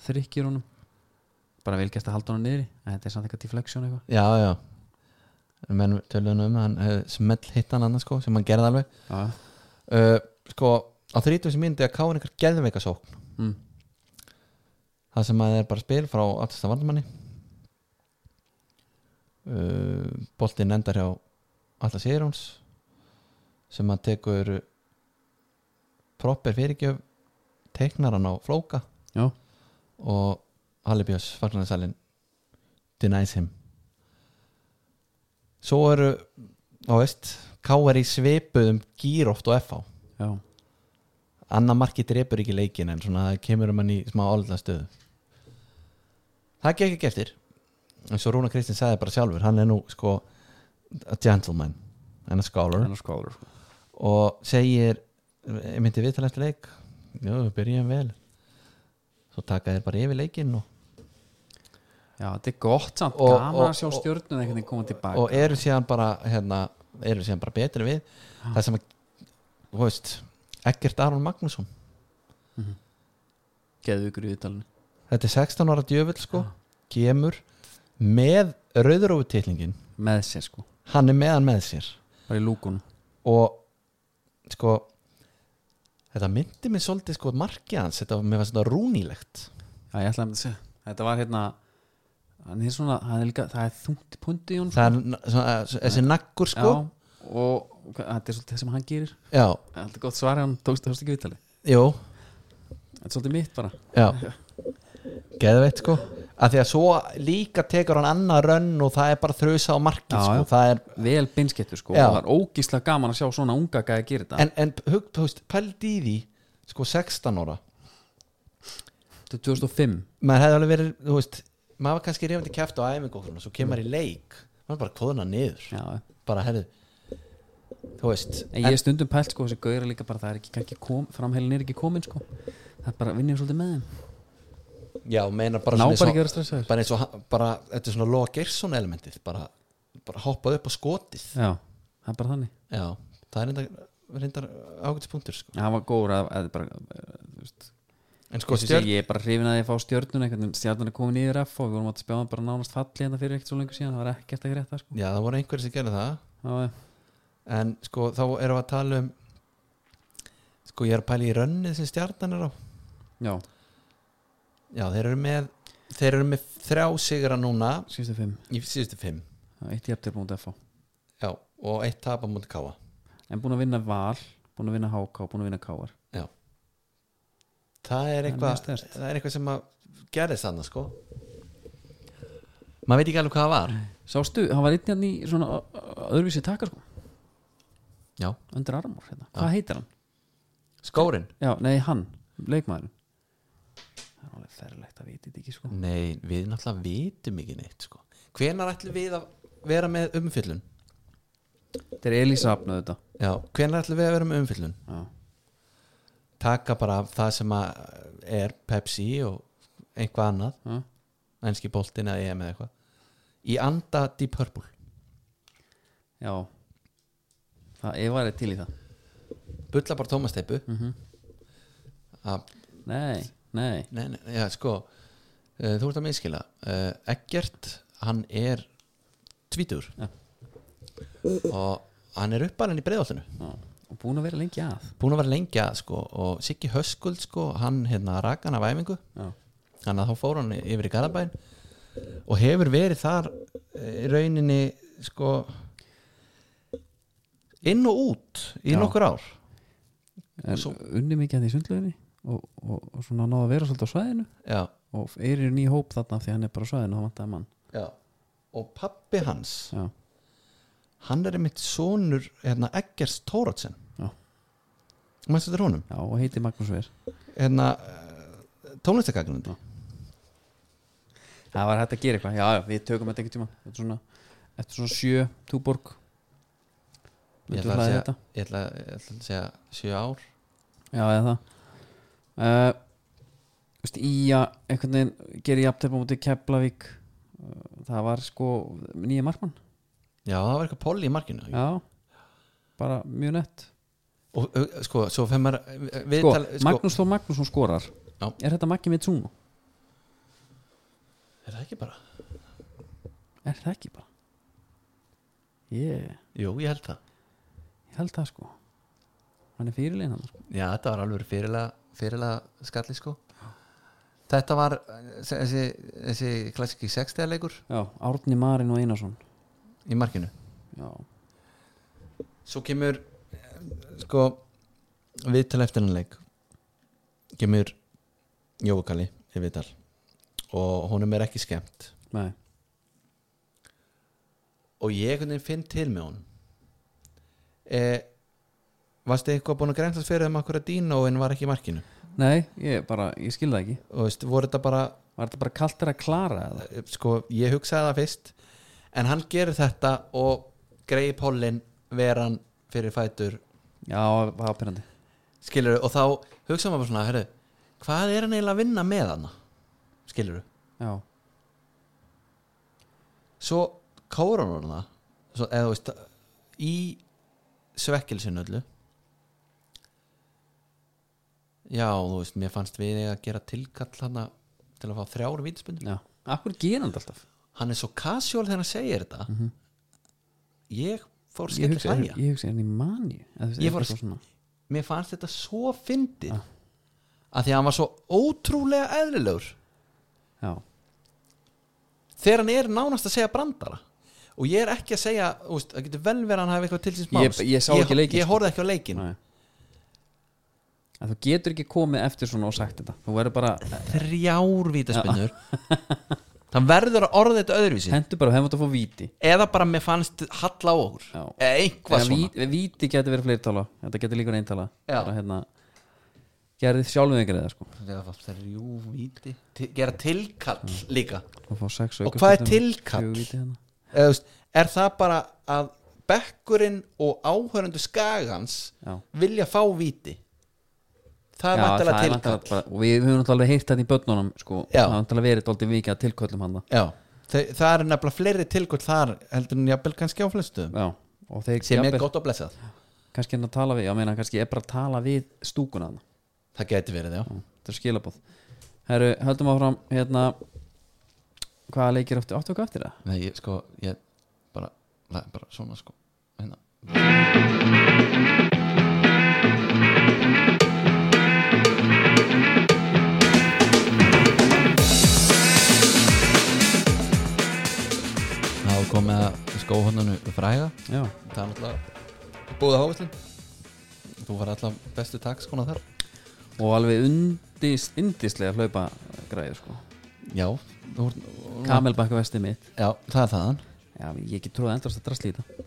B: þrykkir honum bara velgæst að halda honum niðri en þetta er samt eitthvað deflection eitthvað
C: já, já En menn tölum um, hann uh, smell hittan annars sko, sem hann gerði alveg
B: Já.
C: uh, sko á 30 myndi að káin einhver geðveika sókn
B: mm.
C: það sem að það er bara spil frá alltasta varnamanni uh, boltinn endar hjá alltaf Sigurjóns sem að tekur proper fyrirgjöf teiknar hann á flóka
B: Já.
C: og Hallibjós fagnarsalinn denies him svo eru á veist K.R. í svipuðum gýróft og F.A
B: já,
C: annar marki drepur ekki leikin en svona það kemur um hann í smá álega stöðu það gekk ekki eftir eins og Rúna Kristinn sagði bara sjálfur hann er nú sko a gentleman and a scholar
B: hann er skóður sko.
C: og segir ég myndi við til eftir leik já, við byrjum vel svo taka þér bara yfir leikin og,
B: já, þetta er gott samt,
C: Og-
B: gaman
C: og-
B: að sjá
C: og-
B: stjörnun einhvern veginn koma tilbaka
C: og e- eru síðan bara hérna, eru síðan bara betri við það sem að, þú veist Eggert Aron Magnússon
B: geðvíkur í viðtalinu
C: þetta er 16 ára djöfull sko kemur með rauðurófu titlingin
B: með sér sko,
C: hann er með hann með sér
B: bara í lúkunum
C: og sko þetta myndi mig svolítið sko markið hans, þetta mér var svona rúnilegt
B: Já, ég ætlaði að myndi að segja Þetta var hérna hann er svona, hann er líka, það er þungt punti í hún
C: það er na- svona, svona, þessi nakkur sko
B: Já, og hva- þetta er svolítið það sem hann gerir
C: já,
B: Þetta er gott svar, hann tókst það ekki viðtali
C: jú,
B: Þetta er svolítið mitt bara
C: já geðveitt sko að því að svo líka tekur hann annað rönn og það er bara þrjusa á markið
B: Já,
C: sko
B: já.
C: það er
B: Vel binskettur sko
C: Já.
B: Það er ógíslega gaman að sjá svona unga gæði að gera þetta
C: en, en hug, þú veist, pældi í því sko 16 ára
B: Þetta er 2005
C: maður hefði alveg verið, þú veist maður var kannski reyfandi kæft á æfingu og svona, svo kemur maður í leik maður er bara kóðuna niður
B: Já, já.
C: bara herðu þú veist,
B: en ég er stundum pælt sko þessi gauðra líka bara það er ekki kannski kom, framheilin er ekki komin sko það er bara að vinna svolítið með þeim
C: en, já, meinar bara
B: ná
C: svona eins
B: bara
C: og-
B: ekki að vera stressaður
C: bara eins og hann- bara, þetta er svona Loa Gerson elementið bara, bara hoppað upp á skotið
B: já, það er bara þannig
C: já, það er reyndar, reyndar ágætispunktur sko.
B: það var góður að, að bara, eh, þú veist,
C: en sko
B: ég, sé,
C: stjörn
B: ég er bara hrifin að ég fá stjörnun einhvern veginn stjörnun er komin yfir F og við vorum að spjáða bara nánast falli hérna fyrir ekkert svo lengur síðan það var ekkert að gera þetta sko
C: já, það voru einhverjir sem gerði það
B: já, já.
C: en sko, þá erum við að tala um sko, ég er að pæla í rönnið sem stjarnan er á
B: já,
C: já, þeir eru með þeir eru með þrjá sigra núna
B: síðustu fimm
C: í síðustu fimm
B: Já, eitt jæftir búin að F
C: já, og eitt tapa mútið káa
B: en búin að vinna val, búin að vinna HK búin að vinna KR
C: það er
B: er
C: eitthvað
B: mjög sterkt.
C: það er eitthvað sem að gerðist þannig sko maður veit ekki alveg hvað það var
B: sástu, hann var einnig í svona ö- ö- öðruvísi taka sko
C: já,
B: undir armur hérna,
C: Ah.
B: hvað heitir hann?
C: skórin
B: Já, nei, hann, leikmaðurinn Það er alveg ferlegt að viti þetta ekki sko
C: Nei, við náttúrulega vitum ekki neitt sko. Hvenar ætlum við að vera með umfyllun?
B: Þetta er Elísa afnöðu þetta
C: Já, hvenar ætlum við að vera með umfyllun?
B: Já,
C: Taka bara af það sem að er Pepsi og eitthvað annað
B: já.
C: ennski boltin eða EM eða eitthvað í anda Deep Purple
B: já. Það ég var til í það
C: Bulla bara tómasteipu mm
B: Nei, nei,
C: nei, nei, já, sko uh, þú ert að minnskila uh, Eggert, hann er tvítur
B: Já.
C: og hann er uppalinn í breiðoltinu
B: já. og búin að vera lengi að
C: búin að vera lengi að sko og Siggi Höskuld sko, hann hérna rak hann af æfingu
B: Já,
C: þannig að þá fór hann yfir í Garabæn og hefur verið þar eh, í rauninni sko inn og út í
B: Já.
C: nokkur ár
B: en
C: Svo-
B: unni mikið hann í sundlöginni og, og, og svona náða að vera svolítið á svæðinu
C: já,
B: og er í ný hóp þarna því hann er bara á svæðinu og hann vantaði mann
C: já og pappi hans,
B: Já,
C: hann er einmitt sonur hérna Eggers Tóratsen
B: Já.
C: mæstu þetta honum
B: já og heiti Magnús Ver
C: hérna eh, tónlistakagnandi
B: Það var hægt að gera eitthvað, já, já, við tökum þetta ekki tíma Þetta er svona, þetta er svona sjö, túborg
C: ég
B: Myndu
C: ætla að
B: hlaðið
C: segja,
B: þetta
C: ég ætla, ég ætla að segja sjö ár
B: Já, eða það uh, veist, Ía, einhvern veginn gerir jafntefn á móti Keflavík uh, það var sko nýja markmann
C: já, það var eitthvað polli í markinu
B: Já, bara mjög nett
C: og ö, sko, svo fer maður við
B: Sko,
C: tala-
B: Magnús Þór Magnússon skorar
C: Já.
B: Er þetta Maggi með Tsuno?
C: er það ekki bara?
B: Er það ekki bara? Yeah,
C: jú, ég held það
B: ég held það sko Hann er fyrirlegin hann sko.
C: Já, þetta var alveg fyrirlega, fyrirlega skalli sko Þetta var eh, þessi, þessi klassiki sextegarleikur
B: Já, Árni Marin og Einarsson
C: í markinu
B: Já,
C: Svo kemur eh, sko viðtal eftir hann leik kemur Jókali í viðtal og honum er ekki skemmt
B: nei,
C: og ég einhvern veginn finn til með honum eh, Varstu eitthvað búin að grensast fyrir þeim akkur að dýna og var ekki í markinu
B: nei, ég bara, ég skil það ekki
C: og veist, voru þetta bara
B: Var þetta bara kalt er að klara eða?
C: sko, ég hugsaði það fyrst en hann gerir þetta og greiði pollin veran fyrir fætur
B: Já, það var ápyrrandi
C: skilur og þá hugsaði maður bara svona heru, hvað er hann eiginlega að vinna með hann skilur
B: Já,
C: svo kóra hann það svo, eða þú veist í svekkilsinu öllu já þú veist mér fannst við eiga að gera tilkall hann til að fá þrjár vítaspunni
B: já Akkur gera hann þetta alltaf?
C: hann er svo casual þegar hann segir þetta ég fór
B: Mhm. ég
C: skilur
B: hugsa,
C: hlæja
B: ég hugsa hann í mani
C: Ég fór að mér fannst þetta svo fyndið ah. að því að hann var svo ótrúlega eðlilegur
B: já,
C: þegar hann er nánast að segja brandara og ég er ekki að segja þú veist, það getur vel verið að hann hafi eitthvað til síns
B: Ég-
C: máls
B: ég sá ekki leikinn,
C: ég
B: sko.
C: horfði ekki á leikin
B: nei, en þú getur ekki komið eftir svona og sagt þetta þú verður bara,
C: þrjár vítaspinnur það verður að orða þetta öðruvísi
B: hendur bara hefum þetta að fá víti
C: eða bara mér fannst halla á okkur
B: Já.
C: eða eitthvað
B: Þegar
C: svona
B: víti, víti getur verið fleirtala þetta getur líka reyntala
C: Já.
B: bara, hérna, gerðið sjálfum ykkur eða sko
C: Þegar það var þrjú víti Til- gera tilkall
B: Mm.
C: líka
B: og fá sex
C: Og
B: aukaspyrnur
C: hvað er tilkall?
B: fjögur víti hérna.
C: eða, þú veist, er það bara að bekkurinn og áhörundu skagans
B: Já.
C: vilja fá víti það er
B: Já,
C: vantilega
B: það er
C: tilkall
B: væntanlega bara- og við höfum náttúrulega alveg heyrt þetta í börnunum sko,
C: Já.
B: það er náttúrulega verið dóldi mikið að tilköllum hann
C: Já, Þe, það er nefnilega fleiri tilkall þar heldur en jafnvel kannski á flestum
B: Já, og þeir
C: sem er
B: jafnvel-
C: gott og blessað
B: kannski hann að tala við, já meina kannski er bara að tala við stúkuna hann,
C: það geti verið, já
B: þetta er skilabóð Herru, höldum áfram hérna hvaða leikir áttu, áttu okkur eftir það?
C: Nei, ég, sko, ég bara, það er bara svona sko hérna. Það var komið að skóhóndanu fræga
B: Já,
C: Það er náttúrulega búið hávæslin Þú var alltaf bestu takskona þar
B: og alveg undis, undislega hlaupa græður sko
C: Já, þú, ert-
B: Kamelbakka vestið mitt
C: já það er þaðan
B: Já, ég ekki tróðið endast að drasli í þetta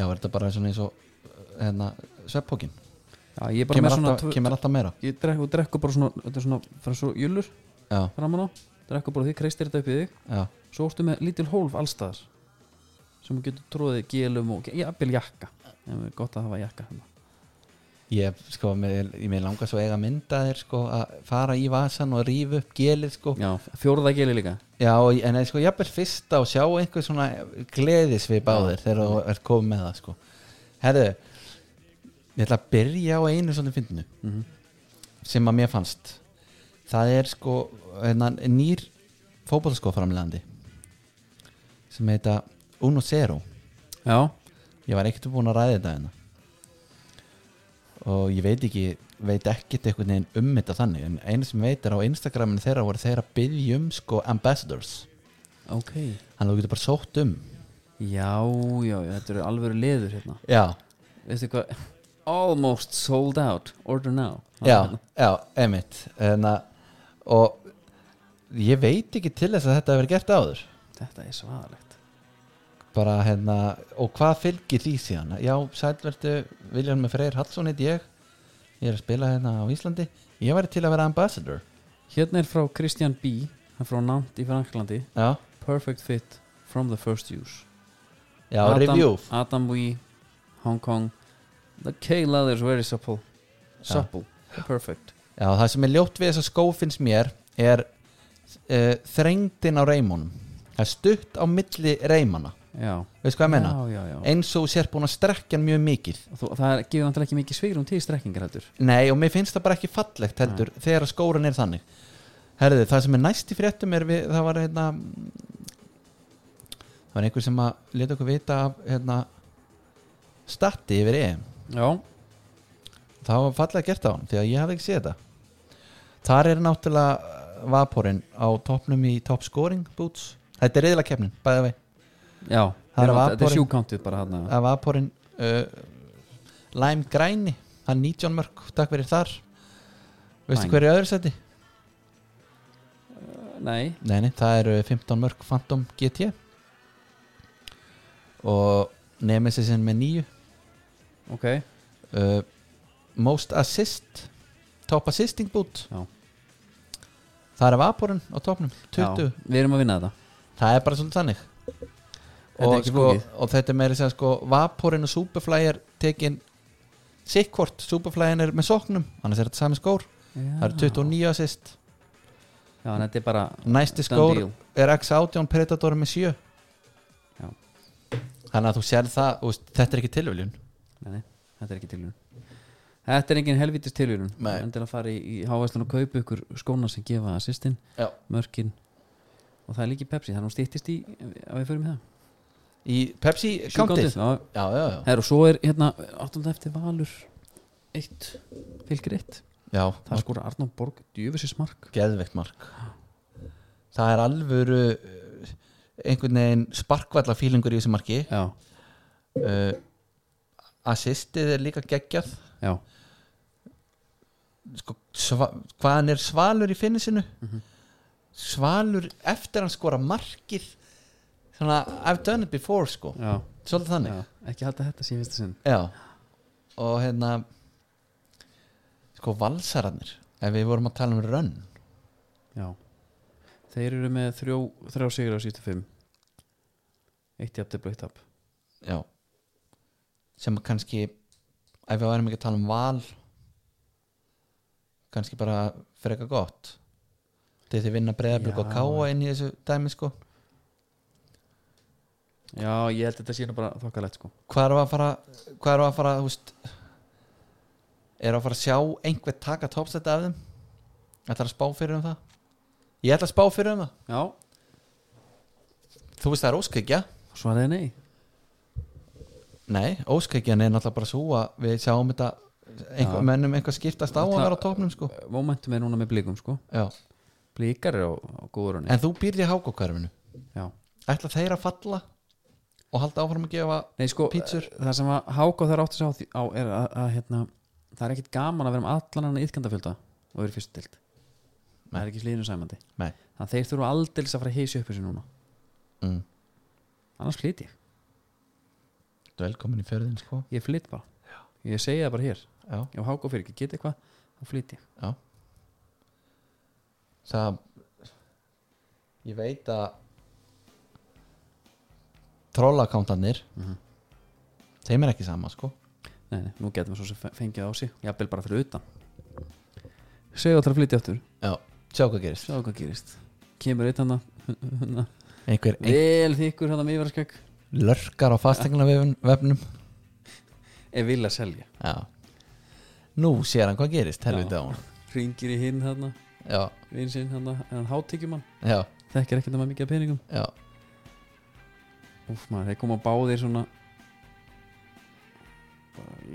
C: Já, er þetta bara svona eins og hérna, svepphókin
B: Já, ég er bara
C: kemur,
B: með svona
C: alltaf- kemur alltaf meira
B: Ég drekku, drekku bara svona, þetta er svona, frá svo jullur
C: Já,
B: framan á Drekku bara því, kreistir þetta upp í þig
C: já
B: Svo ertu með lítil hólf allstaðar sem þú getur tróðið gelum og jafnvel jakka en gott að hafa jakka hérna
C: Ég, sko, mér, mér langar svo að eiga myndaðir sko, að fara í vasan og rífa upp gelið sko.
B: Já, fjórða geli líka
C: Já, og- en eða, sko, jafnvel fyrsta og sjá einhver svona gleðisvip á þér þegar þú ert komið með það sko. Herðu ég ætla að byrja á einu svona fyndinu sem að mér fannst það er sko hérna, nýr fótbolskoframlegandi sem heita Uno Zero
B: Já,
C: ég var ekkert búin að ræða þetta hérna og ég veit ekki veit ekkert einhvern veginn um þetta þannig en einu sem ég veit er á Instagraminu þeirra voru þeirra að byggja um sko ambassadors
B: ok
C: þannig að þú getur bara sótt um
B: Já, já, já, þetta eru alvöru liður hérna
C: já,
B: Veistu hvað, almost sold out Order now
C: já, já, emitt en að og ég veit ekki til þess að þetta hefur verið gert áður
B: Þetta er svaðalegt
C: bara hérna, og hvað fylgir því síðan já, sælverdu, Viljan með Freyr Hallsson heit ég, ég er að spila hérna á Íslandi, ég væri til að vera ambassador
B: Hérna er frá Christian B hann er frá Nant í Franklandi
C: já,
B: Perfect fit from the first use
C: já,
B: Adam,
C: review
B: Adam Wee, Hong Kong The K-leather is very supple Supple, perfect
C: Já, það sem er ljótt við þessa skó finnst mér er uh, þrengdin á reimunum það er stutt á milli reimana
B: Já,
C: veistu hvað ég meina?
B: já, já, já.
C: eins og þú sér búin að strekkja hann mjög mikið
B: Þú, það er- gefur náttúrulega ekki mikið svigrum til strekkingar heldur
C: nei og mér finnst það bara ekki fallegt heldur þegar skóran er þannig herðu það sem er næst í fréttum er við, það var hérna það var einhver sem að leta okkur vita af hérna statti yfir EM
B: Já,
C: það var fallega gert á hann því að ég hafði ekki séð þetta þar er náttúrulega uh, vaporinn á toppnum í top scoring boots þetta er reyðla keppnin, bæða vei
B: já
C: Það er
B: Þetta er
C: vaporinn.
B: sjúkántið bara hann
C: að vaporinn uh, Lime Græni, hann 19 mörg takk fyrir þar veistu
B: Fine.
C: hver er í öðru seti?
B: Nei,
C: Nei, nei, það eru 15 mörg Phantom GT og Nemesisinn með 9
B: ok
C: uh, Most Assist Top Assisting Boot
B: Já.
C: Það er vaporinn á topnum 20
B: Já, Við erum að vinna þetta
C: Það er bara svolítið þannig
B: er
C: og,
B: ekki
C: sko,
B: flókið.
C: og þetta er meira að segja sko Vaporin og Superfly er tekin sikkvort, Superfly er með sóknum annars er þetta sami skór,
B: já.
C: það eru 29 assist
B: Já, en þetta er bara
C: næsti
B: Done
C: skór
B: deal.
C: er X-18 Predator með 7
B: Já.
C: þannig að þú sér það þú veist, þetta er ekki tilvöljun
B: Nei, nei, þetta er ekki tilvíðun Þetta er engin helvítist tilvíðun
C: Nei.
B: Endilega fara í, í hávæslan og kaupa ykkur skóna sem gefa assistin,
C: Já.
B: mörkin og það er líki Pepsi, þannig að hún stýttist í að við förum í það
C: í Pepsi
B: Sjúkándið,
C: countið
B: já,
C: já, já, já.
B: Her, og svo er hérna áttum eftir Valur eitt, fylgir eitt
C: já
B: það er skora Arnóð Borg djöfisins mark
C: geðveikt mark það er alvöru uh, einhvern veginn sparkvalla fílingur í þessu marki Eh,
B: já,
C: uh, assistið er líka geggjað
B: já,
C: sko, sva, hvað hann er svalur í finnisinu
B: Mhm.
C: svalur eftir hann skora markið svona I've done it before sko
B: já,
C: svolítið þannig
B: já, ekki halda þetta síðan fyrsta sinn
C: Já Og hérna Sko valsararnir Ef við vorum að tala um rönn
B: já. þeir eru með þrjó, þrjá sigur á 75 eitt jafn og eitt tap
C: Já Sem að kannski Ef við varum ekki að tala um val Kannski bara freka gott Þegar þið vinna breyðablík og
B: Já.
C: káa inn í þessu dæmi sko
B: já, ég held að þetta sé nú bara þokkalegt sko
C: Hvað erum við að fara Hvað erum við að fara þú veist Erum við að fara að sjá einhver taka topsetta af þeim Ætlar að spá fyrir um það Ég ætla að spá fyrir um það
B: já,
C: Þú veist það er óskikja
B: svaraði nei
C: Nei, óskækjan er náttúrulega bara svo að við sjáum þetta einhver,
B: Já.
C: mennum eitthvað skiptast á að
B: Náttúrulega-
C: vera á topnum sko
B: momentum er núna með blíkum sko
C: Já.
B: blíkar er á, á góðurunni
C: En þú býrði hákókarfinu
B: já
C: Ætla þeir að falla og halda áfram að gefa
B: Nei, sko,
C: Pítsur.
B: það sem að Háka þarf átt að sjá því- á er að, að hérna, það er ekkit gaman að vera um allan hann íðkandafjölda og vera í fyrstu dild það
C: Nei.
B: er ekki slíðinu sæmandi
C: Nei.
B: þannig að þeir þurfa aldeilis að fara að heisi upp þessu núna
C: mm.
B: annars flyt ég,
C: Velkomin í fjörðin sko
B: ég flyt bara ég segi það bara hér,
C: Já,
B: ef Háka fyrir ekki geta eitthvað þá flyt ég
C: já Það Ég veit að Trollakántanir
B: Mhm.
C: Þeim er ekki sama sko
B: nei, nei, nú getum við svo sem fe- fengið á sig jafnvel bara fyrir utan segja alltaf að flytja aftur,
C: Já, sjá hvað gerist
B: sjá hvað gerist kemur eitt hann
C: Einhver, einhver
B: vel þykkur um hann að mýverðskjökk
C: lörkar á fastegna vefnum
B: ef vilja selja,
C: Já Nú sér hann hvað gerist, helviti
B: Já.
C: á hann
B: ringir í hinn hann
C: Já,
B: vinn sinn hann, hann hátíkjumann
C: já,
B: þekkir ekkert að maður mikið af peningum
C: já
B: Úf, maður, þeir koma báðir svona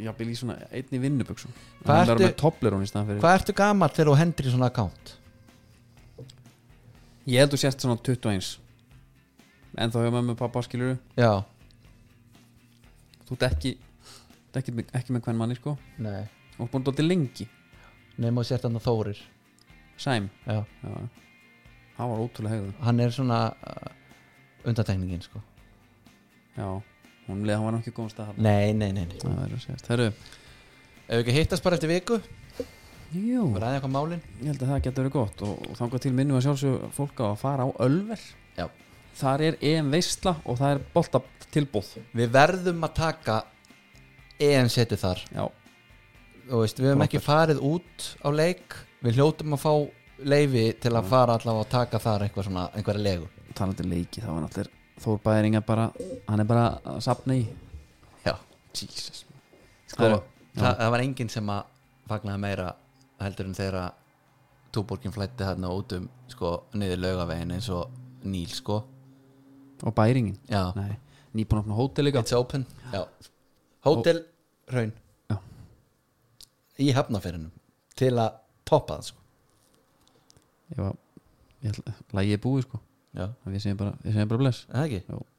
B: jafnvel í svona einni vinnuböksum
C: Hvað
B: hann verður
C: ertu-
B: með toplerón í staðan fyrir
C: Hvað ertu gamall þegar þú hendir í svona account?
B: ég held þú sérst svona 21 en þá hefur maður með pappa skilur
C: Já,
B: þú ert ekki þú ert ekki, með- ekki með hvern manni sko
C: nei
B: og búin dóttir lengi
C: Nefnum að sér þannig Þórir
B: Sæm
C: Já,
B: Já. hann var ótrúlega hegðu
C: hann er svona uh, undantekningin sko
B: já hún leða hann var nokkið góðum stað þarna.
C: Nei, nei, nei, nei
B: það verður að sérst herru
C: Ef við ekki hittast bara eftir viku
B: jú
C: og ræða eitthvað málin
B: ég held að það getur verið gott og, og þangar til minnum að sjálfsög fólk á að fara á Ölver
C: Já.
B: þar er EM veistla og það er bolta tilbúð
C: Við verðum að taka EM setu þar
B: já,
C: Þú veist, við höfum
B: Proper.
C: ekki farið út á leik Við hljótum að fá leifi til að fara allavega að taka þar einhver svona, einhverja legu
B: talandi um leiki þá er allir Þór Bæringa bara, hann er bara að sapna í
C: Já
B: Jesus
C: sko,
B: Herru,
C: það, það var enginn sem að fagnaði meira heldur en þegar að túborgin flætti þarna út um sko, niður laugavegin eins og Níl sko
B: og Bæringin
C: já,
B: nei, nýbúin að opna hótel líka
C: it's open já. hótel Hraun
B: Já.
C: í hafnaferinum til að toppa það sko
B: ég var, ég ætla, lægi er búið sko
C: já,
B: við segjum bara, við segjum bara bless
C: er það ekki
B: Jú.